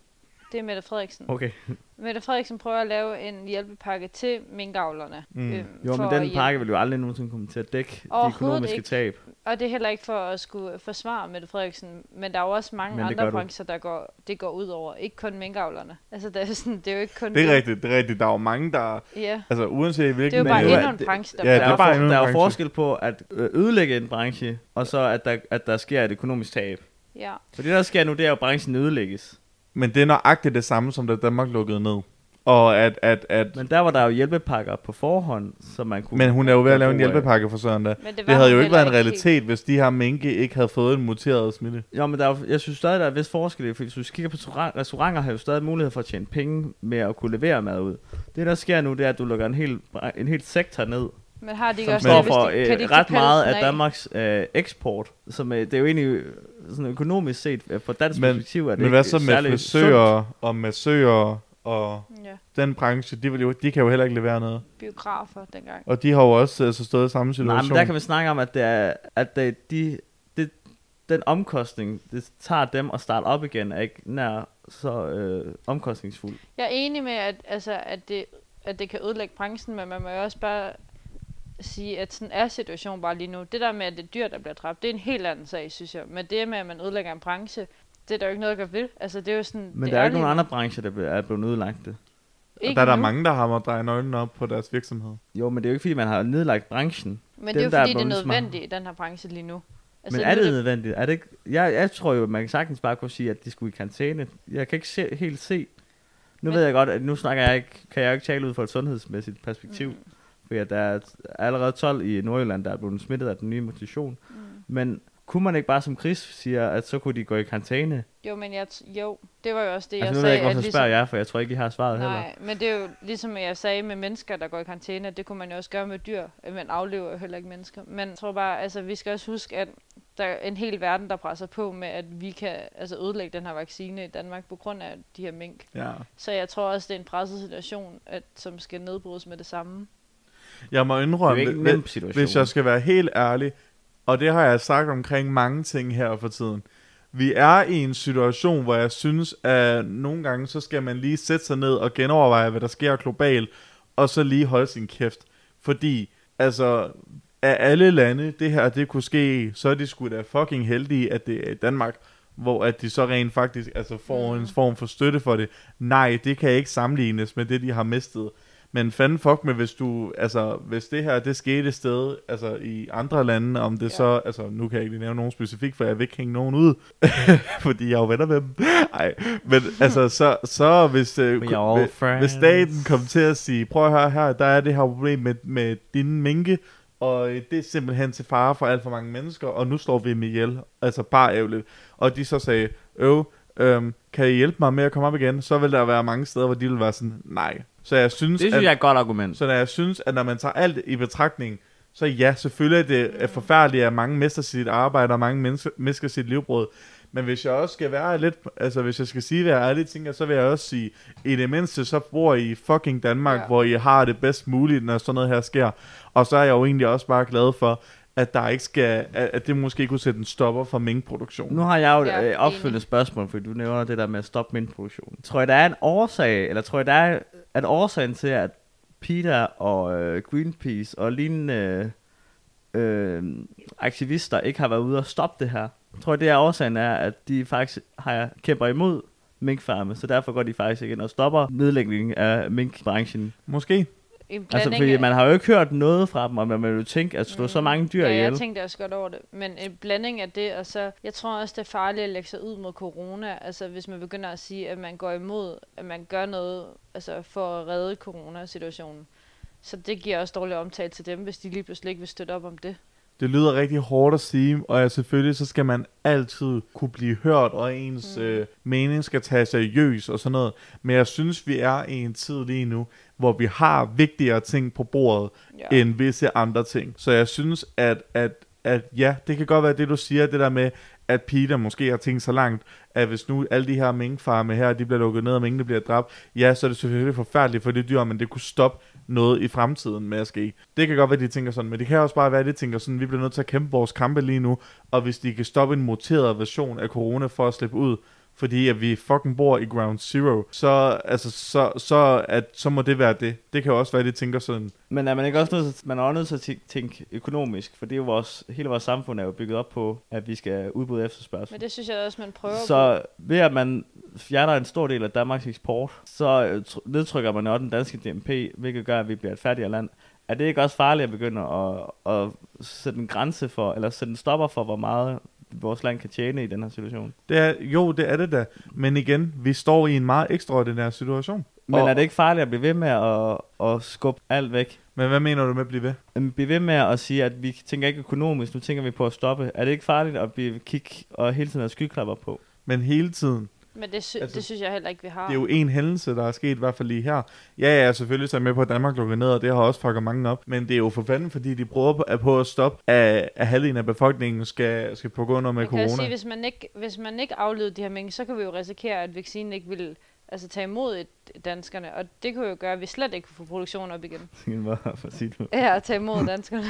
C: Det er Mette Frederiksen.
B: Okay.
C: Mette Frederiksen prøver at lave en hjælpepakke til minkavlerne. øhm,
A: Mm.
B: Jo,
C: for
B: men
C: at
B: den
C: hjælpe-
B: pakke vil jo aldrig nogensinde komme til at dække de
C: Overhovedet
B: økonomiske
C: ikke.
B: tab.
C: Og det er heller ikke for at skulle forsvare Mette Frederiksen, men der er jo også mange
B: Men det gør
C: andre
B: du.
C: brancher, der går, det går ud over. Ikke kun minkavlerne. Altså, det er, sådan, det er jo ikke kun...
A: Det er rigtigt, det er rigtigt. Der er jo mange, der...
C: Ja,
A: Altså, uanset
C: det er
A: hvilken...
C: jo bare
B: jo,
C: endnu
B: at
C: en
B: det-
C: branche, der
A: ja, det
B: der,
A: er
B: er
C: bliver
A: bare
B: for,
A: endnu en
B: der er jo
A: branche.
B: forskel på at øh, ødelægge en branche, og så at der, at der sker et økonomisk tab.
C: Ja.
B: For det, der sker nu, det er jo, at branchen ødelægges.
A: Men det er nøjagtigt det samme, som da Danmark lukkede ned. Og at... at, at men,
B: Men der var der jo hjælpepakker på forhånd, som man kunne...
A: men hun er jo ved at lave en
B: bruge af.
A: hjælpepakke for Søren da.
C: Men det,
A: Det havde jo ikke været en
C: heller helt.
A: realitet, hvis de her minke ikke havde fået en muteret smitte.
B: Jo, men der er, jo- jeg synes stadig, der er vist forskel, i det, fordi hvis du kigger på restauran- restauranter, har jo stadig mulighed for at tjene penge med at kunne levere mad ud. Det, der sker nu, det er, at du lukker en hel, bra- en hel sektor ned,
C: Men har de ikke
B: som
C: også det,
B: står
C: hvis
B: for
C: de, kan de
B: øh,
C: ikke
B: ret
C: tage
B: meget
C: pelsen
B: af Danmarks øh, eksport. Som, øh, det er jo egentlig øh, sådan økonomisk set, øh, fra dansk
A: Men-
B: perspektiv, er det
A: Men hvad
B: ikke
A: så med
B: særlig sundt.
A: frisører og massører og
C: Ja,
A: den branche, de, vil jo, de kan jo heller ikke levere noget.
C: biografer dengang.
A: Og de har jo også altså, stået i samme situation.
B: Nej, men der kan vi snakke om, at, det er, at det, de, det, den omkostning, det tager dem at starte op igen, er ikke nær så øh, omkostningsfuld.
C: Jeg er enig med, at, altså, at, det, at det kan ødelægge branchen, men man må jo også bare sige, at sådan er situationen bare lige nu. Det der med, at det er dyr, der bliver dræbt, det er en helt anden sag, synes jeg. Men det med, at man ødelægger en branche, det er der jo ikke noget at gøre ved. Altså, det er jo sådan...
B: Men det der er jo ikke
C: lige
B: nogen
C: nu.
B: andre brancher, der ble- er blevet nedlagt det.
A: og
C: Ikke
A: der er der
C: nu.
A: mange, der har måttet dreje nøglen op på deres virksomhed.
B: Jo, men det er jo ikke, fordi man har nedlagt branchen.
C: Men
B: Dem,
C: det er
B: der
C: jo
B: er
C: fordi, det er
B: bundet smart.
C: nødvendigt i den her branche lige nu.
B: Altså, men er
C: nu
B: det nødvendigt? Er det ikke? Jeg, jeg tror jo, at man sagtens bare kunne sige, at de skulle i karantæne. Jeg kan ikke se, helt se. Nu
C: Men-
B: ved jeg godt, at nu snakker jeg ikke, kan jeg jo ikke tale ud fra et sundhedsmæssigt perspektiv. Mm. Fordi at der er allerede 12 i Nordjylland, der er blevet smittet af den nye mutation. Mm. Men kunne man ikke bare som Chris siger, at så kunne de gå i karantæne?
C: Jo, men jeg t- jo, det var jo også det,
B: altså
C: jeg
B: nu ved
C: sagde.
B: jeg ikke, hvorfor
C: at
B: ligesom... spørger jeg, for jeg tror ikke, I har svaret heller.
C: Nej, men det er jo ligesom jeg sagde med mennesker, der går i karantæne, det kunne man jo også gøre med dyr, Øh, man aflever jo heller ikke mennesker. Men jeg tror bare, altså vi skal også huske, at der er en hel verden, der presser på med, at vi kan altså, ødelægge den her vaccine i Danmark på grund af de her mink.
A: Ja.
C: Så jeg tror også, det er en presset situation, at, som skal nedbrydes med det samme.
A: Jeg må
B: Det er jo
A: indrømme,
B: ikke en
A: hvis-
B: nem situation.
A: Hvis jeg skal være helt ærlig, og det har jeg sagt omkring mange ting her for tiden. Vi er i en situation, hvor jeg synes, at nogle gange, så skal man lige sætte sig ned og genoverveje, hvad der sker globalt, og så lige holde sin kæft. Fordi, altså, af alle lande, det her, det kunne ske, så er de sgu da fucking heldige, at det er i Danmark, hvor at de så rent faktisk altså, får en form for støtte for det. Nej, det kan ikke sammenlignes med det, de har mistet. Men fanden fuck med, hvis du, altså, hvis det her, det skete et sted, altså i andre lande, om det ja. så, altså nu kan jeg ikke lige nævne nogen specifikt, for jeg vil ikke hænge nogen ud, fordi jeg er jo venner med dem. Ej, men altså, så, så hvis, øh,
B: We
A: ku-
B: all
A: hvis, hvis
B: friends.
A: staten kom til at sige, prøv at høre her, der er det her problem med, med dine minke, og øh, det er simpelthen til fare for alt for mange mennesker, og nu slår vi dem ihjel, altså bare ærgerligt. Og de så sagde, øv, øhm, kan I hjælpe mig med at komme op igen? Så vil der være mange steder, hvor de vil være sådan, nej. Så jeg synes,
B: Det synes
A: at,
B: jeg er et godt argument.
A: så når jeg synes, at når man tager alt i betragtning, så ja, selvfølgelig er det er forfærdeligt, at mange mister sit arbejde, og mange mennesker mister sit livbrød. Men hvis jeg også skal være lidt, altså hvis jeg skal sige, hvad jeg ærligt tænker, så vil jeg også sige, i det mindste, så bor I i fucking Danmark, ja.
C: Ja.
A: hvor I har det bedst muligt, når sådan noget her sker. Og så er jeg jo egentlig også bare glad for, at der ikke skal, at, at det måske kunne sætte en stopper for minkproduktionen.
B: Nu har jeg jo
C: Ja,
B: et øh, opfølgende
C: enig.
B: spørgsmål, fordi du nævner det der med at stoppe minkproduktionen. Tror jeg, der er en årsag, eller tror jeg, der er at årsagen til, at PETA og øh, Greenpeace og lignende øh, aktivister ikke har været ude og stoppe det her? Tror jeg, det er årsagen er, at de faktisk har, kæmper imod minkfarme, så derfor går de faktisk ikke ind og stopper nedlægningen af minkbranchen.
A: Måske.
C: En blanding
B: Altså, fordi
C: af-
B: man har jo ikke hørt noget fra dem, og man vil jo tænke at slå mm. så mange dyr
C: ja,
B: ihjel.
C: jeg tænkte også godt over det. Men en blanding af det, og så... Jeg tror også, det er farligt at lægge sig ud mod corona. Altså, hvis man begynder at sige, at man går imod, at man gør noget altså, for at redde coronasituationen. Så det giver også dårlig omtale til dem, hvis de lige pludselig ikke vil støtte op om det.
A: Det lyder rigtig hårdt at sige, og ja, selvfølgelig så skal man altid kunne blive hørt, og ens mm. øh, mening skal tages seriøst og sådan noget. Men jeg synes, vi er i en tid lige nu, hvor vi har vigtigere ting på bordet,
C: Ja.
A: ja. end visse andre ting. Så jeg synes, at, at, at ja, det kan godt være det, du siger, det der med, at Peter måske har tænkt så langt, at hvis nu alle de her minkfarme her, de bliver lukket ned, og minkene bliver dræbt, ja, så er det selvfølgelig forfærdeligt for de dyr, men det kunne stoppe noget i fremtiden med at ske. Det kan godt være, de tænker sådan, men det kan også bare være, at de tænker sådan, vi bliver nødt til at kæmpe vores kampe lige nu, og hvis de kan stoppe en muteret version af corona for at slippe ud, fordi at vi fucking bor i Ground Zero, så, altså, så, så, at, så må det være det. Det kan jo også være, at de tænker sådan,
B: Men er man ikke også nødt til, man er også nødt til at tæ- tænke økonomisk, for det er jo vores, hele vores samfund er jo bygget op på, at vi skal udbryde efterspørgsel.
C: Men det synes jeg også, man prøver på.
B: Så ved at man fjerner en stor del af Danmarks eksport, så øh, tr- nedtrykker man jo også den danske DMP, hvilket gør, at vi bliver et fattigere land. Er det ikke også farligt at begynde at, at sætte en grænse for, eller sætte en stopper for, hvor meget vores land kan tjene i den her situation?
A: Det er, jo, det er det da. Men igen, vi står i en meget ekstraordinær situation.
B: Men
A: Og-
B: er det ikke farligt at blive ved med at, at skubbe alt væk?
A: Men hvad mener du med at blive ved?
B: Jamen, blive ved med at sige, at vi tænker ikke økonomisk, nu tænker vi på at stoppe. Er det ikke farligt at blive kig og hele tiden have skyklapper på?
A: Men hele tiden.
C: Men det, sy-
A: altså,
C: altså, det synes jeg heller ikke, vi har.
A: Det er jo en hændelse, der er sket, i hvert fald lige her. Ja, ja, selvfølgelig så er jeg med på, at Danmark lukker ned, og det har også fucket mange op. Men det er jo for fanden, fordi de prøver på- at, på at stoppe, at, at halvdelen af befolkningen skal, skal på grund af med
C: man kan jo sige,
A: corona.
C: hvis man ikke, hvis man ikke afleder de her mængder, så kan vi jo risikere, at vaccinen ikke vil altså, tage imod et- danskerne. Og det kunne jo gøre, at vi slet ikke kunne få produktionen op igen.
B: Hvorfor siger du?
C: Ja, at tage imod danskerne.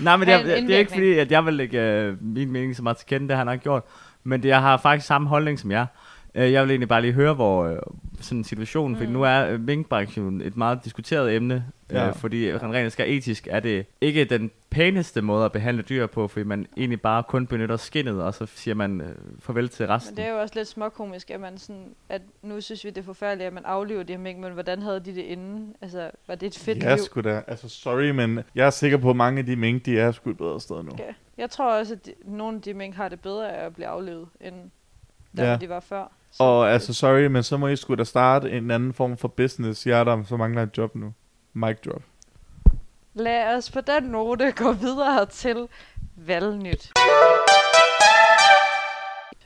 B: Nej, men det
C: Have
B: er,
C: en
B: det er
C: indvirkning.
B: ikke fordi, at jeg vil lægge øh, min mening så meget til kende, det har han nok gjort. Men det, jeg har faktisk samme holdning som jer. Øh, jeg vil egentlig bare lige høre, hvor øh, sådan en situation, mm. fordi nu er øh, minkbranchen et meget diskuteret emne,
A: Ja.
B: ja. øh, fordi han rent skal etisk er det ikke den pæneste måde at behandle dyr på, fordi man egentlig bare kun benytter skinnet, og så siger man øh, farvel til resten.
C: Men det er jo også lidt småkomisk, at man sådan, at nu synes vi, det er forfærdeligt, at man aflever de her mink, men hvordan havde de det inden? Altså, var det et fedt
A: ja,
C: liv?
A: sgu da. Altså, sorry, men jeg er sikker på, at mange af de mink, de er sgu et bedre sted nu.
C: Ja. Jeg tror også, at de, nogle af de mink har det bedre af at blive aflevet, end der,
A: Ja.
C: hvor de var før. Så
A: Og altså, sorry, men så må I sgu da starte en anden form for business. Jeg er der, så mangler et job nu. Mic drop.
C: lad os på den note gå videre til valgnyt.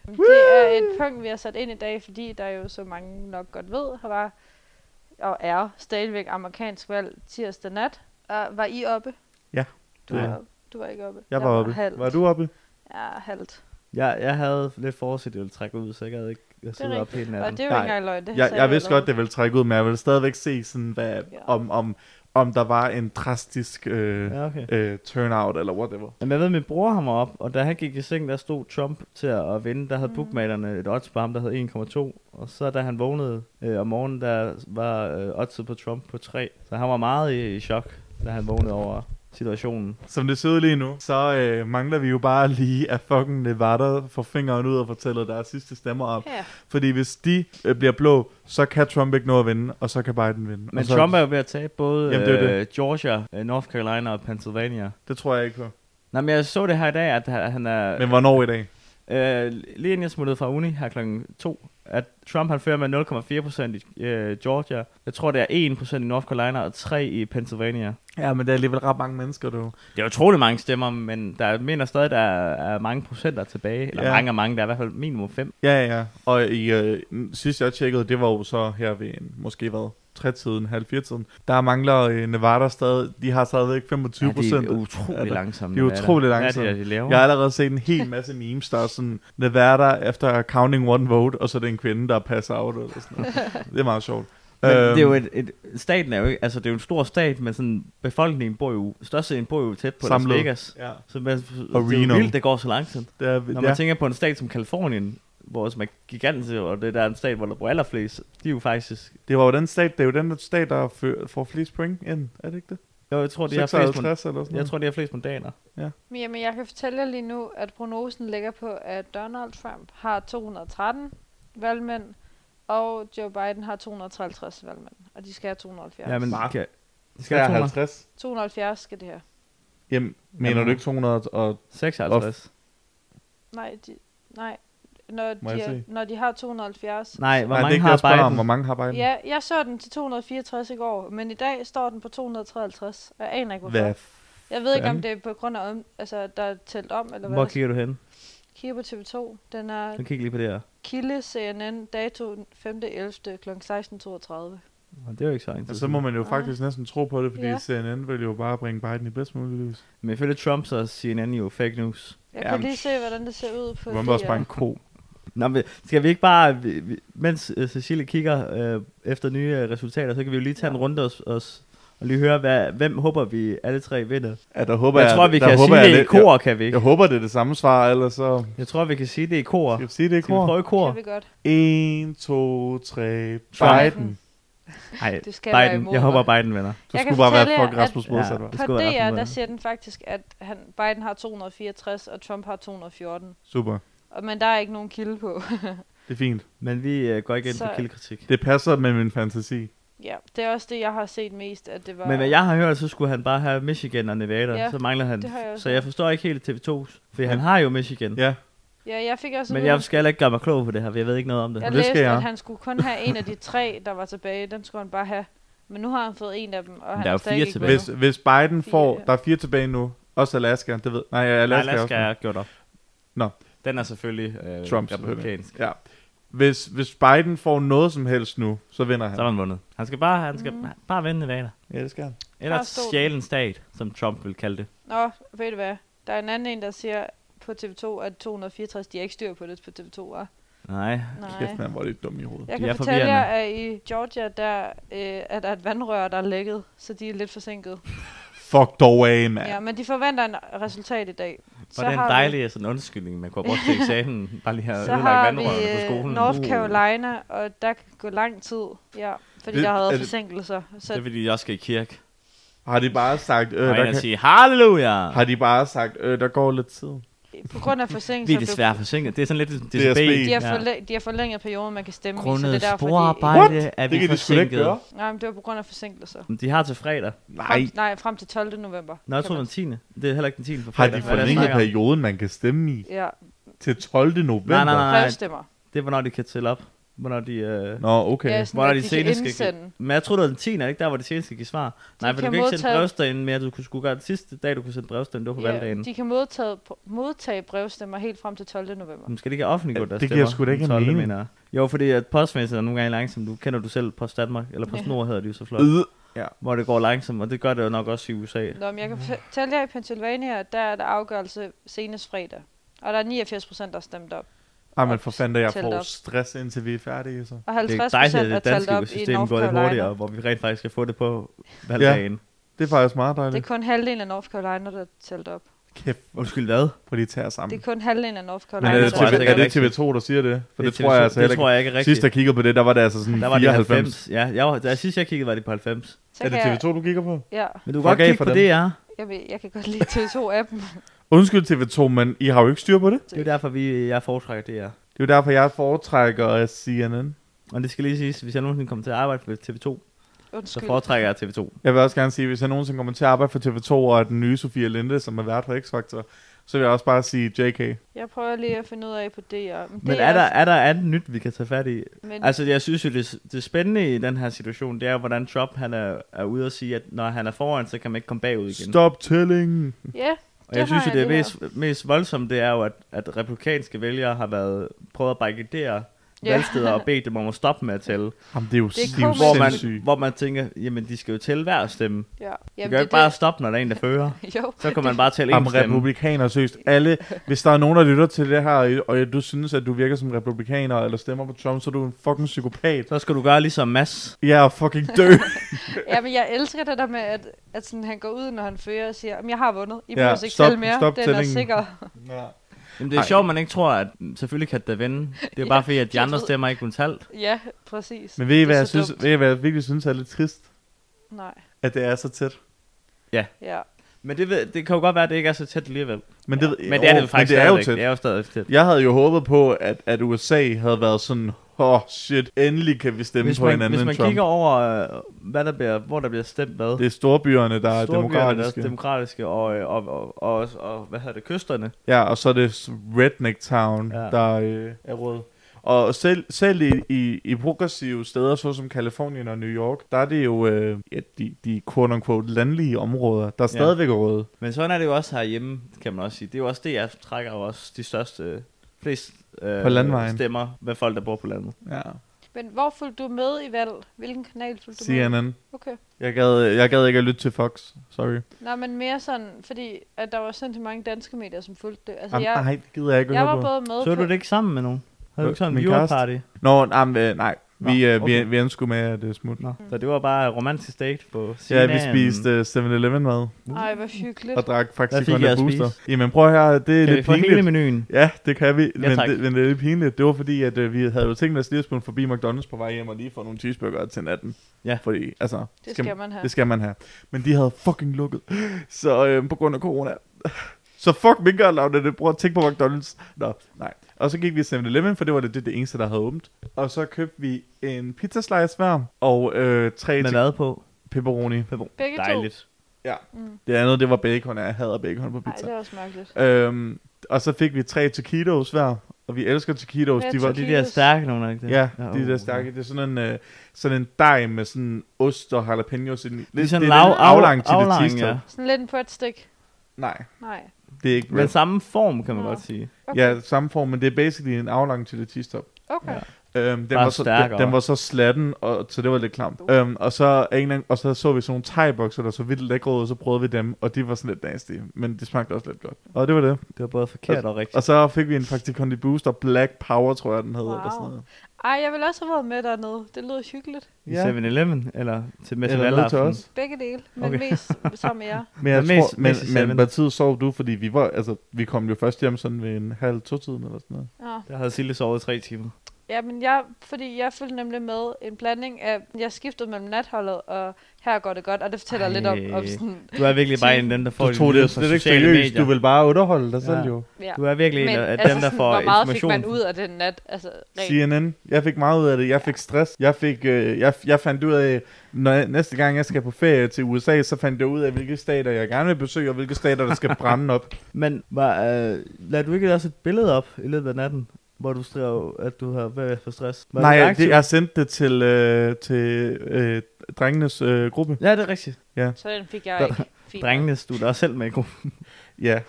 C: Det er et punkt, vi har sat ind i dag, fordi der jo, som mange nok godt ved, har var og er stadigvæk amerikansk valg tirsdag nat. Og var I oppe?
A: Ja,
C: Du,
A: det-
C: var, du var ikke oppe.
A: Jeg var oppe.
C: halvt.
A: Var du oppe?
C: Ja, halvt.
B: Jeg, jeg havde lidt forsigt, at ville trække ud, så jeg havde ikke jeg siddet op hele
C: Og det
B: natten.
C: er jo
A: Nej.
C: ikke engang løgn, det
A: jeg,
C: sagde
A: jeg vidste
C: allerede.
A: godt, det ville trække ud, men jeg vil stadigvæk se, sådan, hvad, ja.
C: Ja.
A: om, om, om der var en drastisk øh,
B: Ja, okay.
A: øh, turnout eller whatever.
B: Jamen, jeg ved, min bror ham op, og da han gik i seng, der stod Trump til at at vinde. Der
C: Mm.
B: havde bookmaterne et odds på ham, der hed 1,2. Og så da han vågnede øh, om morgenen, der var øh, oddset på Trump på 3. Så han var meget i, i chok, da han vågnede over situationen.
A: Som det ser ud lige nu, så øh, mangler vi jo bare lige, at fucking Nevada får fingeren ud og fortæller deres sidste stemmer op.
C: Ja.
A: Fordi hvis de øh, bliver blå, så kan Trump ikke nå at vinde, og så kan Biden vinde.
B: Men
A: og så,
B: Trump er jo ved at tabe både
A: Jamen, det er jo
B: øh, Georgia, øh, North Carolina og Pennsylvania.
A: Det tror jeg ikke på.
B: Nej, men jeg så det her i dag, at han han er...
A: Men hvornår i dag?
B: Øh, lige inden jeg smuttede fra uni her klokken 2, at Trump han fører med 0,4% i øh, Georgia. Jeg tror, det er 1% i North Carolina og 3% i Pennsylvania.
A: Ja, men der er alligevel ret mange mennesker, du.
B: Det er utrolig mange stemmer, men der er- mener stadig, der er er mange procenter tilbage. Eller
A: Ja.
B: ja. mange og mange, der er i hvert fald minimum 5.
A: Ja, ja. Og i, øh, sidst jeg tjekkede, det var jo så her ved en, måske hvad, tretiden, halv tiden. Der mangler øh, Nevada stadig, de har stadigvæk 25
B: ja,
A: procent.
B: det er utrolig
A: der-
B: langsomt.
A: de er utrolig
B: Ja,
A: langsomme.
B: det er, de laver.
A: Jeg har allerede set en hel masse memes, der er sådan, Nevada efter counting one vote, og så er det en kvinde, der passer out, eller sådan noget. Det er meget sjovt.
B: Men
A: Øhm,
B: det er jo et, et, staten er jo ikke, altså det er jo en stor stat, men sådan, befolkningen bor jo, størstedelen bor jo tæt på
A: Samlet.
B: Las Vegas.
A: Ja,
B: Så man, og det er
A: Reno.
B: jo vildt, det går så langsomt.
A: det er,
B: Når
A: det
B: man
A: er,
B: tænker på en stat som Kalifornien, hvor som er gigantisk, og det der er en stat, hvor der bor allerflest, de er jo faktisk...
A: det var jo den stat, det er jo den stat, der fø- får flest point ind, er det ikke det?
B: Jo, jeg tror, de har flest,
A: 56 eller sådan
B: mon- jeg tror, de har flest mandater.
C: Men Jamen, jeg kan fortælle jer lige nu, at prognosen ligger på, at Donald Trump har 213 valgmænd, og Joe Biden har 253 valgmænd, og de skal have 270.
B: Ja, men
A: Bare.
B: kan, skal
A: Skal jeg
B: jeg
A: have
B: have
A: 50?
C: 270 skal det her.
A: Jamen, mener
B: Jamen.
A: du ikke 200 og...
B: 56.
C: Nej, de, nej. Når
A: Må jeg
C: de, er,
A: se?
C: når de har 270.
B: Nej, hvor
A: Nej, det
B: mange
A: kan jeg spørge
B: har
A: om, hvor
B: Biden?
A: mange har Biden?
C: Ja, jeg så den til 264 i går, men i dag står den på 253, og jeg aner ikke, hvorfor.
A: Hvad?
C: Jeg ved ikke, om
A: fanden?
C: det er på grund af, om, altså, der er tælt om, eller hvad.
B: Hvor
C: der-
B: kigger du hen?
C: Kigger på TV2. Den er
B: Du kigger lige på det her.
C: Kilde CNN, dato 5.11. kl. 16.32.
B: Nå, Det er jo ikke så
A: Og
B: interessant.
A: Altså, så må man jo
C: Nej.
A: faktisk næsten tro på det, fordi
C: Ah. Ja.
A: CNN vil jo bare bringe Biden i bedst mulig lys.
B: Men ifølge Trump, så er CNN jo fake news.
C: Jeg
A: Jamen.
C: kan lige se, hvordan det ser ud på
A: Du må også
C: DR.
A: bare en ko.
B: Nå, men skal vi ikke bare, vi- vi- mens øh, Cecilie kigger øh, efter nye øh, resultater, så kan vi jo lige tage en runde os, os og lige høre, hvad, hvem håber vi alle tre vinder?
A: Ja, der håber
B: Jeg tror, vi
A: der
B: kan
A: håber
B: sige
A: jeg
B: det i
A: lidt-
B: kor, kan vi
A: Jeg,
B: ikke?
A: jeg håber, det er det samme svar, ellers så...
B: Jeg tror, vi kan sige det i kor.
A: Skal vi sige det i
B: Skal vi
A: kor?
B: prøve i kor?
C: Kan vi godt.
A: 1, 2, 3,
B: Trump.
A: Biden.
B: Nej,
C: Det skal være
B: Biden.
C: imod
B: Jeg håber,
C: mig.
B: Biden vinder.
A: Du
C: Jeg
A: skulle
C: kan
A: bare være
C: fortælle jer,
A: fucking
C: at-
A: Rasmus Modsat,
B: Ja.
A: var.
B: Det
C: På
B: skulle være
C: DR,
B: aftenmad.
C: der siger den faktisk, at han, Biden har 264, og Trump har 214.
A: Super.
C: Og, men der er ikke nogen kilde på.
A: Det er fint.
B: Men vi øh, går ikke ind
C: Så-
B: for kildekritik.
A: Det passer med min fantasi.
C: ja, det er også det, jeg har set mest, at det var...
B: Men hvad jeg har hørt, så skulle han bare have Michigan og Nevada.
C: Ja,
B: så mangler han.
C: det har jeg også
B: så jeg forstår ikke helt TV2's. For
A: Men-
B: han har jo Michigan.
A: Ja,
C: Ja, jeg fik også
B: Men
C: at vide,
B: jeg skal heller ikke gøre mig klog på det her, for jeg ved ikke noget om det.
C: jeg
A: det skal
C: læste,
A: jeg.
C: at han skulle kun have en af de tre, der var tilbage. Den skulle han bare have. Men nu har han fået en af dem, og han
B: der er jo
C: er stadig
B: fire
C: ikke
B: tilbage.
C: vundet.
A: hvis, hvis Biden
C: Fire,
A: får...
C: ja.
A: Der er fire tilbage nu. Også Alaska, det ved... Nej, Alaska,
B: Alaska,
A: er også
B: Alaska
A: med.
B: er gjort op.
A: Nå.
B: Den er selvfølgelig øh,
A: Trump,
B: Trump republikansk.
A: Ja. Hvis, hvis Biden får noget som helst nu, så vinder han.
B: Så har han vundet. Han skal bare, han skal
C: Mm.
B: bare vinde Nevada.
A: Ja, det skal han.
B: Eller
C: Bare stå-
B: stjæle en stat, som Trump vil kalde det.
C: Nå, ved du hvad? Der er en anden en, der siger på TV2, at 264, de har ikke styr på det på TV2, er.
B: Nej.
C: Nej.
A: Kæft, man, hvor er det dum i hovedet.
C: Jeg
B: De er
C: kan fortælle jer,
B: forvirrende.
C: at i Georgia, der øh, er der et vandrør, der er lækket, så de er lidt forsinket.
A: Fuck dog af,
C: Ja,
A: mand. Ja.
C: men de forventer en resultat i dag.
B: Var det en
C: har vi-
B: dejlig sådan undskyldning, man kunne have brugt til eksamen. Bare lige have
C: Så
B: ødelagt
C: har vi
B: vandrørene på
C: øh,
B: skolen. Uh.
C: North Carolina, og der kan gå lang tid, ja, fordi
A: Det-
C: det, der har
A: er
C: været
A: det-
C: forsinkelser.
B: Det er
C: Så
B: fordi, jeg skal i kirke.
A: Har de bare sagt, øh,
B: Og
A: der
B: jeg
A: kan,
B: sige, halleluja!
A: har de bare sagt, øh, der går lidt tid.
C: på grund af
B: Vi er
C: forsinkelser, blev-
B: desværre forsinket. Det er sådan lidt DSB.
A: DSB.
C: de, har
B: Ja.
C: forlæ- de har forlænget perioden, man kan stemme i, så
B: Grundet
C: det er derfor,
B: sporarbejde
A: What?
B: er
A: det
B: vi
A: kan de sgu da ikke
B: forsinket.
A: gøre.
C: de... Nej, men det var på grund af forsinkelser.
B: Men De har til fredag.
A: Nej.
C: Frem, nej, frem til 12. november.
B: Nå, jeg
C: kan
B: tror,
C: man-
B: den 10. Det er heller ikke den 10. på
A: Har
B: fredag.
A: de
B: Hvad er det,
A: forlænget
B: jeg snakker om?
A: perioden, man kan stemme i?
C: Ja,
A: Til 12. november?
B: Nej, nej, nej.
C: brevstemmer.
B: Det er, hvornår de kan tælle op. Hvornår de... Øh...
A: Nå, okay.
C: Ja, sådan,
B: Hvornår
C: at
B: de
C: de
B: senest
C: kan
B: skal
C: indsende.
B: Men jeg tror, det var den 10. Er det ikke der, hvor de seneste skal give svar? Nej, for du
C: kan
B: kan ikke sende
C: modtage-
B: brevstagen mere. Du kunne sgu gøre det sidste dag, du kunne sende brevstagen. Det var på valgdagen.
C: de kan modtage, modtage brevstemmer helt frem til 12. november.
B: Men skal det ikke have offentliggjort
A: Ja,
B: deres
A: det giver
B: stemmer
A: sgu da ikke
B: den
A: en
B: 12.,
A: mening.
B: mener jeg. Jo, fordi at postvæsenet er nogle gange langsomt. Du kender du selv Post Danmark, eller Post Nord hedder det jo så flot.
A: Øh,
B: Hvor det går langsomt, og det gør det jo nok også i USA.
C: Nå, men jeg kan fortælle jer, i Pennsylvania, der er der afgørelse senest fredag. Og der er 89 procent, der er stemt op.
A: Ej, men for fanden da, jeg
C: Talt
A: får
C: op.
A: stress, indtil vi er færdige, så.
C: Og
B: Det
C: 50
B: er dejligt, at
C: procent er
B: det
C: talt op
B: danske
C: i
B: system
C: North
B: går lidt
C: Carolina.
B: hurtigere, hvor vi rent faktisk skal få det på valgdagen.
A: Det er faktisk meget
C: Det er
A: dejligt.
C: kun halvdelen af North Carolina, der er talt op.
A: Kæft,
B: Undskyld, hvad?
A: prøv lige at tage jer sammen.
C: Det er kun halvdelen af North
A: Men
C: Carolina,
A: er
B: Nej,
A: det,
B: det tror jeg
A: TV,
B: altså ikke
A: er
B: er
A: det TV2, der siger det? For det,
B: er
A: tror
B: TV2.
A: jeg altså
B: det
A: heller
B: tror
A: ikke.
B: jeg ikke er rigtigt.
A: Sidst jeg kiggede på det, der var det altså sådan
B: der var det
A: 94.
B: 90. Ja, jeg var, da sidst jeg kiggede, var det på 90.
C: Så
A: Er det
C: kan jeg-
A: TV2, du kigger på?
C: Ja,
B: Men du kan
A: Fuck
B: godt
A: af
B: kigge
A: for
B: på
A: dem.
B: det, ja.
C: jeg, ved, jeg kan godt lide TV2-appen.
A: Undskyld TV2, men I har jo ikke styr på det.
B: Det er jo derfor, vi, jeg foretrækker det, ja.
A: Det er jo derfor, jeg foretrækker øh, CNN.
B: Og det skal lige siges, hvis jeg nogensinde kommer til at arbejde for TV2, så
C: Undskyld.
B: foretrækker jeg TV2.
A: Jeg vil også gerne sige, hvis jeg nogensinde kommer til at arbejde for TV2 og er den nye Sofia Linde, som er vært for X-Factor, så vil jeg også bare sige JK.
C: Jeg prøver lige at finde ud af på DR.
B: Men er der, er der andet nyt, vi kan tage fat i?
C: Men,
B: Altså, jeg synes jo, det, det spændende i den her situation, det er, hvordan Trump han er, er ude og sige, at når han er foran, så kan man ikke komme bagud igen.
A: Stop telling.
C: ja,
B: og jeg
C: det
B: synes
C: har
B: jo,
C: jeg
B: det, er
C: lige
B: mest, mest voldsomt, det er jo, at, at republikanske vælgere har været prøvet at barrikadere
C: Ja.
B: valgsteder og bede dem om at stoppe med at tælle.
A: Jamen, det er jo,
C: Det er
A: det er jo
C: komisk.
B: Hvor man,
A: sindssygt.
B: hvor man tænker, jamen, de skal jo tælle hver stemme.
C: ja.
B: Du
C: Jamen,
B: kan jo ikke bare stoppe, når der er en, der fører.
C: Jo,
B: Så kan man bare tælle en
A: Jamen,
B: stemme.
A: republikaner, søst. Alle, hvis der er nogen, der lytter til det her, og du synes, at du virker som republikaner, eller stemmer på Trump, så er du en fucking psykopat.
B: Så skal du gøre ligesom Mads.
A: Jeg er fucking død.
C: ja, men jeg elsker det der med, at, at sådan, han går ud, når han fører og siger, at jeg har vundet. I
A: Ja,
C: behøver altså ikke
A: stop-
C: selv mere.
A: stop
C: Den er
A: tællingen.
C: sikker.
A: ja.
B: Jamen, det er
A: Ej.
B: sjovt, man ikke tror, at mm, selvfølgelig kan det vende. Det er bare fordi, at de
C: jeg
B: andre
C: ved-
B: stemmer ikke kun talt.
C: Ja, præcis.
A: Men ved I,
C: Det er
A: hvad jeg,
C: så
A: synes,
C: dumt.
A: ved I, hvad jeg virkelig synes er lidt trist?
C: Nej,
A: At det er så tæt.
C: ja.
B: Men det, ved, det kan jo godt være, at det ikke er så tæt alligevel.
A: Men det,
B: Men det er det
A: åh,
B: jo faktisk
A: men det er jo
B: stadigvæk.
A: tæt.
B: Det er jo stadig tæt.
A: Jeg havde jo håbet på, at, at USA havde været sådan, åh oh, shit, endelig kan vi stemme
B: Hvis
A: på
B: man,
A: hinanden
B: hvis
A: end
B: man
A: Trump.
B: kigger over, øh, hvad der bliver, hvor der bliver stemt hvad.
A: Det er storbyerne, der er
B: Storbyerne, der er
A: demokratiske.
B: demokratiske og, øh, og, og, og, også- og, hvad hedder det, kysterne.
A: Ja, og så er det s- Redneck Town,
B: Ja.
A: ja. der øh, er rød. Og selv, selv i, i, i progressive steder, såsom Kalifornien og New York, der er det jo øh, ja, de, de quote-unquote landlige områder, der er
B: Ja.
A: stadigvæk er røde.
B: Men sådan er det jo også herhjemme, kan man også sige. Det er jo også det, jeg trækker jo også de største, øh, flest øh,
A: På landvejen.
B: stemmer med folk, der bor på landet.
A: Ja.
C: Men hvor fulgte du med i valg? Hvilken kanal fulgte du med?
A: CNN.
C: Okay.
A: Jeg gad, jeg gad ikke at lytte til Fox. Sorry.
C: Nej, men mere sådan, fordi at der var sådan så mange danske medier, som fulgte det. Altså,
A: Jamen,
C: jeg,
A: nej, det gider jeg ikke at
C: jeg
A: høre
C: var
A: på.
C: både med
B: Så
C: på...
B: du det ikke sammen med nogen? Havde du ikke sådan en
A: Min kæreste?
B: viewerparty?
A: Nå, nej, øh, nej. Vi,
B: Nå,
A: øh,
B: okay.
A: vi, vi endte sgu med at øh, smutte.
B: Nå, så det var bare romantisk date på
A: Ja,
B: Sinaen.
A: vi spiste øh, 7-Eleven mad
C: Ej, hvor hyggeligt.
A: og drak faktisk
B: fik
A: kun
B: I
A: en
B: at
A: booster. Jamen prøv her, det er
B: Kan vi
A: lidt
B: få hele
A: pinligt.
B: menuen?
A: Ja, det kan vi, men,
B: tak.
A: det, men det er lidt pinligt. Det var fordi, at øh, vi havde jo tænkt os lige at smule forbi McDonald's på vej hjem og lige få nogle cheeseburger til natten.
B: Ja.
A: Fordi, altså,
C: Det skal man have.
A: det skal man have. Men de havde fucking lukket, så øh, på grund af corona. Så fuck minkavlerne, det bruger at tænke på McDonald's. Nå, nej. Og så gik vi i 7-Eleven, for det var det, det, det eneste, der havde åbent. Og så købte vi en pizzaslice hver, og øh, tre
B: Med
A: til
B: hvad på?
A: pepperoni.
C: Begge to.
B: Dejligt.
A: Det andet, det var bacon, og jeg hader bacon på
C: Nej,
A: pizza.
C: det er også mærkeligt.
A: Øhm, og så fik vi tre taquitos hver, og vi elsker taquitos.
C: Hvad
A: De
C: er
A: var,
B: Og de der stærke nogen, er det ikke det?
A: ja,
B: uh,
A: de der stærke. Det er sådan en, øh, sådan en dej med sådan ost og jalapenos. Lidt,
B: Det er sådan
A: lidt
B: lav,
A: aflang
B: aflang,
A: til
B: aflang,
A: det
B: ja.
C: Sådan lidt en pretstick.
A: Nej,
C: Nej.
A: det er ikke
B: Men
A: red.
B: samme form, kan man
C: Nå.
B: godt sige.
C: Okay.
A: Ja, samme form, men det er basically en aflang til det tistop.
C: Okay.
B: Ja.
A: Øhm, den,
B: Bare
A: var så, den,
B: stærkere.
A: den, var så slatten, og, så det var lidt klamt. Øhm, og, så, af en eller anden- og så så vi sådan nogle thai-bokser, der så vildt lækre ud, og så prøvede vi dem, og de var sådan lidt nasty, men det smagte også lidt godt. Og det var det.
B: Det var både forkert og rigtigt.
A: Og så fik vi en faktisk Condi Booster Black Power, tror jeg, den hed. Wow. Eller
C: Wow.
A: sådan noget.
C: Ej, jeg ville også have været med dernede. Det lød hyggeligt.
B: I 7-Eleven, eller til med
A: Eller noget til os.
C: Begge dele, men
B: Okay.
C: okay. mest sammen med jer.
A: Men, jeg
B: Men mest-
A: tror, men,
B: mest i
A: men
B: Seven.
A: hvad tid sov du? Fordi vi, var, altså, vi kom jo først hjem sådan ved en halv to-tiden eller sådan noget.
C: Ja.
B: Der havde Sille sovet i tre timer.
C: ja, men jeg, fordi jeg fulgte nemlig med en blanding af, jeg skiftede mellem natholdet, og her går det godt, og det fortæller
B: Ej.
C: lidt om, om sådan,
B: Du er virkelig bare en af dem, der får
A: Du tog
B: nyheder
A: det
B: fra
A: slet ikke
B: sociale
A: seriøst. Du
B: medier.
A: vil bare underholde dig selv
B: Ja.
A: jo.
C: ja. altså,
B: Du er virkelig en af dem, der
C: sådan,
B: får
C: hvor meget fik
B: information.
C: man ud af den nat? Altså, rent.
A: CNN. Jeg fik meget ud af det. Jeg fik stress. Jeg, fik, øh, jeg, jeg fandt ud af, når jeg, næste gang jeg skal på ferie til USA, så fandt jeg ud af, hvilke stater jeg gerne vil besøge, og hvilke stater, der skal brænde op.
B: Men var, øh, lagde du ikke også et billede op i løbet af natten, hvor du skrev, at du havde været for stress? Var
A: Nej,
B: du
A: jeg,
B: aktiv?
A: det, jeg sendte det til, øh, til øh, drengenes øh, gruppe.
B: Ja, det er rigtigt.
C: Så den fik jeg
A: Der-
C: ikke. Fint.
B: Drengene stod der også selv med i gruppen.
A: Ja,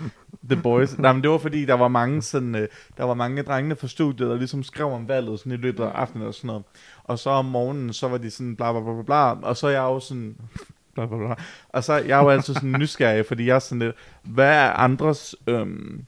A: The Boys. Nej, men det var fordi, der var mange, sådan, øh, der var mange af drengene fra studiet, der ligesom skrev om valget sådan i løbet af aftenen og sådan noget. Og så om morgenen, så var de sådan bla bla bla bla, bla og så er jeg jo sådan... Bla, bla, bla. Og så er jeg jo altid sådan nysgerrig, fordi jeg er sådan lidt, hvad er andres øhm,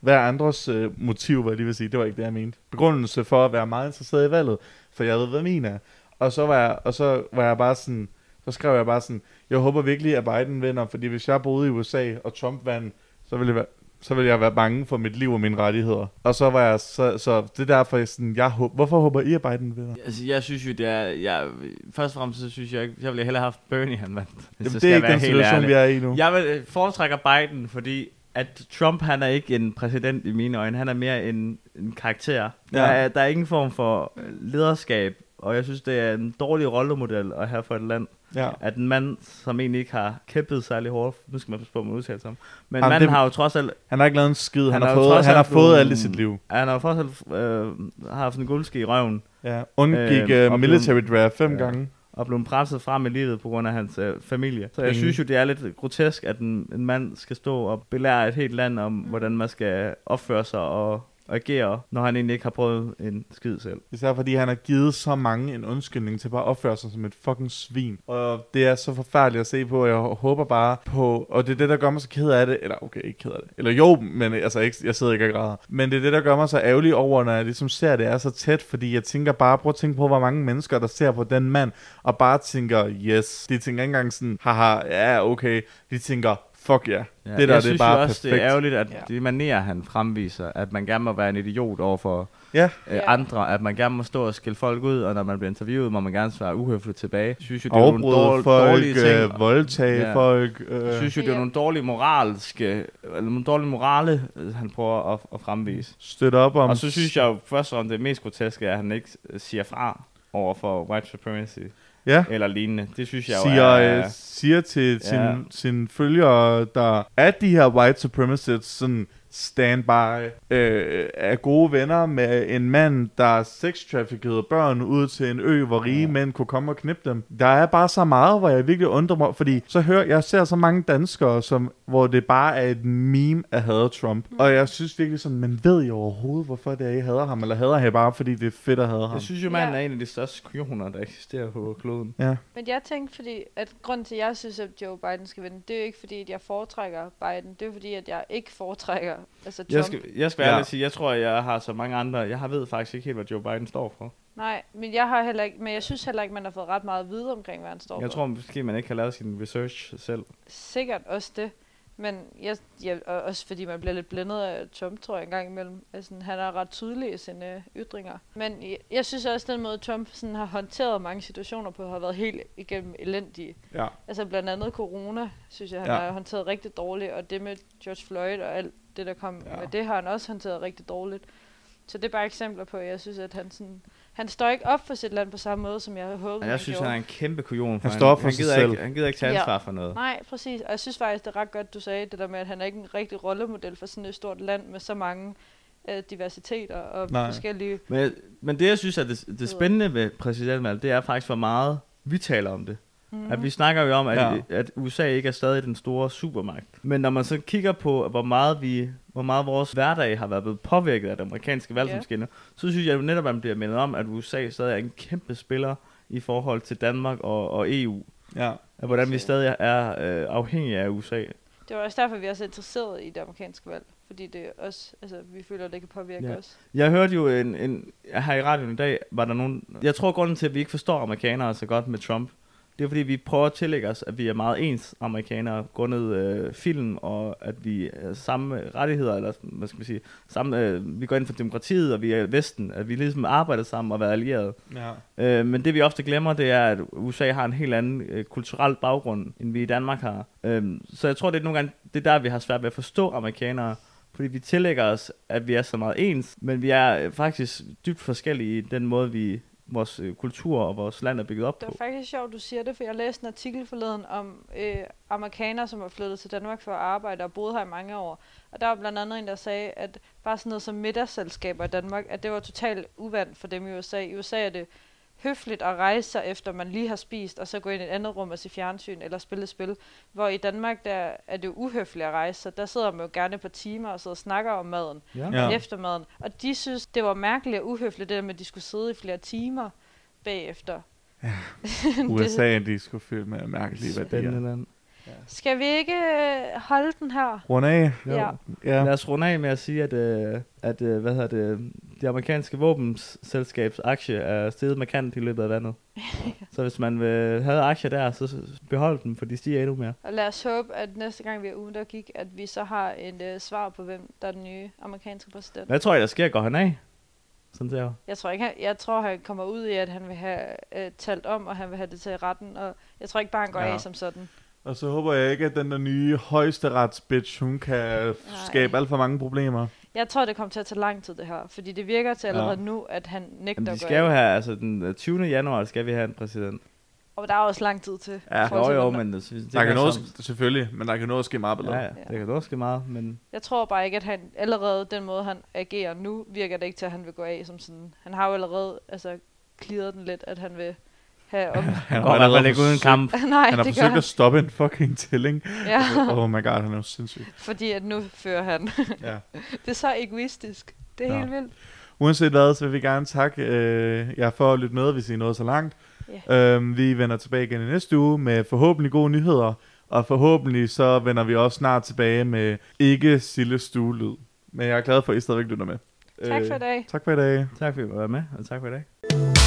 A: hver andres øh, motiv, var jeg lige vil sige. Det var ikke det, jeg mente. Begrundelse for at være meget interesseret i valget, for jeg ved, hvad min er. Og så var jeg, og så var jeg bare sådan, så skrev jeg bare sådan, jeg håber virkelig, at Biden vinder, fordi hvis jeg boede i USA, og Trump vandt, så ville jeg være, så ville jeg være bange for mit liv og mine rettigheder. Og så var jeg, så, så det er derfor, jeg sådan, jeg håber, hvorfor håber I, at Biden vinder?
B: Altså, jeg synes jo, det er... Jeg, først og fremmest, så synes jeg ikke... Jeg ville hellere have haft Bernie, han vandt. hvis
A: Jamen,
B: jeg
A: det
B: skal
A: er ikke
B: være
A: den
B: helt
A: situation,
B: ærlig.
A: vi er i nu.
B: Jeg vil øh, foretrækker Biden, fordi at Trump, han er ikke en præsident i mine øjne. Han er mere en, en karakter. Ja. Der,
A: Ja.
B: er, der er ingen form for øh, lederskab, og jeg synes, det er en dårlig rollemodel at have for et land.
A: Ja.
B: At en mand, som egentlig ikke har kæmpet særlig hårdt, nu skal man passe på, med udtale sig om, men
A: Jamen,
B: Jamen, manden
A: det-
B: det... har jo trods alt,
A: Han har ikke lavet en skid, han,
B: Han
A: han har,
B: er jo
A: fået,
B: trods
A: han har
B: alt
A: fået
B: nogle-
A: alt i sit liv.
B: han har jo trods alt øh, har haft en guldske i røven,
A: Ja. Undgik
B: Øh,
A: øh,
B: og
A: military draft fem
B: Ja.
A: gange.
B: og blev presset frem i livet på grund af hans øh, familie. Så jeg
A: Ingen.
B: synes jo, det er lidt grotesk, at en, en mand skal stå og belære et helt land om, hvordan man skal opføre sig og agere, når han egentlig ikke har prøvet en skid selv.
A: Især fordi han har givet så mange en undskyldning til bare at opføre sig som et fucking svin. Og det er så forfærdeligt at se på, og jeg håber bare på... Og det er det, der gør mig så ked af det. Eller okay, ikke ked af det. Eller jo, men altså, ikke, jeg sidder ikke og græder. Men det er det, der gør mig så ærgerlig over, når jeg ligesom ser, at det er så tæt. Fordi jeg tænker bare, prøv at tænke på, hvor mange mennesker, der ser på den mand, og bare tænker, yes. De tænker ikke engang sådan, haha, ja, okay. De tænker, fuck yeah. ja.
B: Ja,
A: Det der,
B: jeg
A: det er
B: synes
A: bare
B: jo også,
A: perfekt.
B: det er ærgerligt, at
A: Ja.
B: ja. det manerer, han fremviser, at man gerne må være en idiot overfor
A: Ja.
B: øh,
C: Ja.
B: andre, at man gerne må stå og skille folk ud, og når man bliver interviewet, må man gerne svare uhøfligt tilbage. Jeg synes jo, det er nogle
A: Afbryde
B: dårl-
A: folk,
B: dårlige ting.
A: øh, voldtage
B: Ja.
A: folk. Øh,
B: Jeg synes jo, det er
C: Ja.
B: nogle dårlige moralske, eller nogle dårlige morale, øh, han prøver at, at fremvise.
A: støtte op om
B: Og så synes jeg jo først om det mest groteske er, at han ikke øh, siger fra over for white supremacy
A: ja.
B: eller lignende. Det synes jeg jo
A: siger,
B: er...
A: øh, siger til sin,
B: Ja.
A: sine følgere, der er de her white supremacists, sådan standby, øh, er gode venner med en mand, der sextraffickede børn ud til en ø, hvor rige ja. mænd kunne komme og knippe dem. Der er bare så meget, hvor jeg virkelig undrer mig, fordi så hører, jeg ser så mange danskere, som, hvor det bare er et meme at hade Trump.
B: Mm.
A: Og jeg synes virkelig sådan, man ved jo overhovedet, hvorfor det er, I hader ham, eller hader han bare, fordi det er fedt at hade ham.
B: Jeg synes jo, man
C: Ja.
B: er en af de største skyoner, der eksisterer på kloden.
A: Ja.
C: Men jeg tænkte, fordi at grunden til, at jeg synes, at Joe Biden skal vinde, det er jo ikke fordi, at jeg foretrækker Biden. Det er jo fordi, at jeg ikke foretrækker altså Trump.
B: Jeg skal, jeg skal
A: Ja.
B: ja. ærligt sige, jeg tror, jeg har så mange andre... Jeg har- ved faktisk ikke helt, hvad Joe Biden står for.
C: Nej, men jeg har heller ikke, men jeg synes heller ikke, man har fået ret meget at vide omkring, hvad han står
B: Jeg
C: for.
B: tror måske, man ikke har lavet sin research selv.
C: Sikkert også det. Men jeg, jeg, og også fordi man bliver lidt blændet af Trump, tror jeg, en gang imellem. Altså, han er ret tydelig i sine øh, ytringer. Men jeg, jeg synes også, den måde Trump sådan, har håndteret mange situationer på, har været helt igennem elendige.
A: Ja.
C: Altså blandt andet corona, synes jeg, han
A: Ja.
C: har håndteret rigtig dårligt. Og det med George Floyd og alt det, der kom
A: Ja.
C: ja. med det, har han også håndteret rigtig dårligt. Så det er bare eksempler på, at jeg synes, at han sådan... Han står ikke op for sit land på samme måde, som jeg havde håbet,
B: Og jeg synes,
C: gjorde.
B: han er en kæmpe kujon.
A: Han står op for
B: han
A: sig
B: gider
A: selv.
B: Ikke, han gider ikke tage
C: Ja.
B: ansvar for noget.
C: Nej, præcis. Og jeg synes faktisk, det er ret godt, du sagde det der med, at han er ikke en rigtig rollemodel for sådan et stort land med så mange øh, diversiteter og
A: Nej.
C: Nej. forskellige...
B: Men, men det, jeg synes er det, det spændende ved præsidentvalget, det er faktisk, hvor meget vi taler om det. Mm. At vi snakker jo om, at,
A: Ja.
B: ja. at USA ikke er stadig den store supermagt. Men når man så kigger på, hvor meget, vi, hvor meget vores hverdag har været blevet påvirket af det amerikanske valg,
C: Ja.
B: som skinner, så synes jeg jo netop, at man bliver mindet om, at USA stadig er en kæmpe spiller i forhold til Danmark og, og EU.
A: Ja.
B: At hvordan vi
C: Helt
B: stadig er øh, afhængige af USA.
C: Det var også derfor, vi er så interesseret i det amerikanske valg. Fordi det er også, altså, vi føler, at det kan påvirke
B: Ja.
C: ja. os.
B: Jeg hørte jo en, en, her i radioen i dag, var der nogen... Jeg tror, grunden til, at vi ikke forstår amerikanere så godt med Trump, det er, fordi vi prøver at tillægge os, at vi er meget ens amerikanere, grundet øh, film, og at vi er samme rettigheder, eller hvad skal man sige, samme, øh, vi går ind for demokratiet, og vi er Vesten, at vi ligesom arbejder sammen og er allierede.
A: Ja.
B: Øh, men det vi ofte glemmer, det er, at USA har en helt anden øh, kulturel baggrund, end vi i Danmark har. Øh, så jeg tror, det er nogle gange, det er der, vi har svært ved at forstå amerikanere, fordi vi tillægger os, at vi er så meget ens, men vi er øh, faktisk dybt forskellige i den måde, vi vores øh, kultur og vores land er bygget op
C: Det
B: på.
C: var faktisk sjovt, du siger det, for jeg læste en artikel forleden om øh, amerikanere, som var flyttet til Danmark for at arbejde og boede her i mange år. Og der var blandt andet en, der sagde, at bare sådan noget som middagsselskaber i Danmark, at det var totalt uvandt for dem i USA. I USA er det høfligt at rejse sig efter man lige har spist, og så gå ind i et andet rum og se fjernsyn eller spille et spil. Hvor i Danmark, der er det jo uhøfligt at rejse sig. Der sidder man jo gerne på timer og sidder og snakker om maden
B: Ja.
A: Ja.
C: ja. eftermaden. Og de synes, det var mærkeligt og uhøfligt, det der med, at de skulle sidde i flere timer bagefter.
A: USA, de skulle fylde med mærkelige værdier.
B: Spændende land.
C: Skal vi ikke øh, holde den her?
A: Runde af.
C: Ja.
A: ja.
B: Lad os runde af med at sige, at, øh, at øh, hvad hedder det, det amerikanske våbenselskabs aktie er steget markant i løbet af vandet. så hvis man vil have aktier der, så behold dem, for de stiger endnu mere.
C: Og lad os håbe, at næste gang vi er ude, der gik, at vi så har et øh, svar på, hvem der er den nye amerikanske præsident.
B: Hvad tror I, der sker? Går han af? Sådan der.
C: Jeg tror, ikke, han, jeg tror, han kommer ud i, at han vil have øh, talt om, og han vil have det til retten. Og jeg tror ikke bare, han går
A: Ja.
C: ja. af som sådan.
A: Og så håber jeg ikke, at den der nye højesteretsbitch, hun kan skabe alt for mange problemer.
C: Jeg tror, det kommer til at tage lang tid, det her. Fordi det virker til
B: Ja.
C: allerede ja. nu, at han nægter
B: Jamen, de
C: at gå
B: skal jo
C: af.
B: have, altså den øh, 20. januar skal vi have en præsident.
C: Og der er også lang tid til. i
B: Ja,
C: forhold
B: jo,
C: til,
B: jo,
C: hvornår-
B: men øh, det, det
A: Der kan
B: er
A: noget,
B: sådan-
A: selvfølgelig, men der kan noget ske meget bedre.
B: Ja, ja, det kan noget ske meget, men
C: Jeg tror bare ikke, at han allerede, den måde han agerer nu, virker det ikke til, at han vil gå af som sådan. Han har jo allerede, altså, klidret den lidt, at han vil have om...
A: Han
B: han går i hvert fald ikke uden kamp.
C: Nej,
A: Han har
C: det gør
A: forsøgt
C: han.
A: at stoppe en fucking tælling.
C: Ja,
A: Oh my god, han er jo sindssyg.
C: fordi at nu fører han.
A: Ja.
C: det er så egoistisk. Det er
A: Nå.
C: helt vildt.
A: Uanset hvad, så vil vi gerne takke øh, jer for at lytte med, hvis I nåede så langt. Øhm, vi vender tilbage igen i næste uge med forhåbentlig gode nyheder, og forhåbentlig så vender vi også snart tilbage med ikke Sille stuelyd. Men jeg er glad for, at I stadigvæk lytter med.
B: Øh,
C: Tak for i dag.
A: Tak for i dag.
B: tak fordi I var med, og tak for i dag.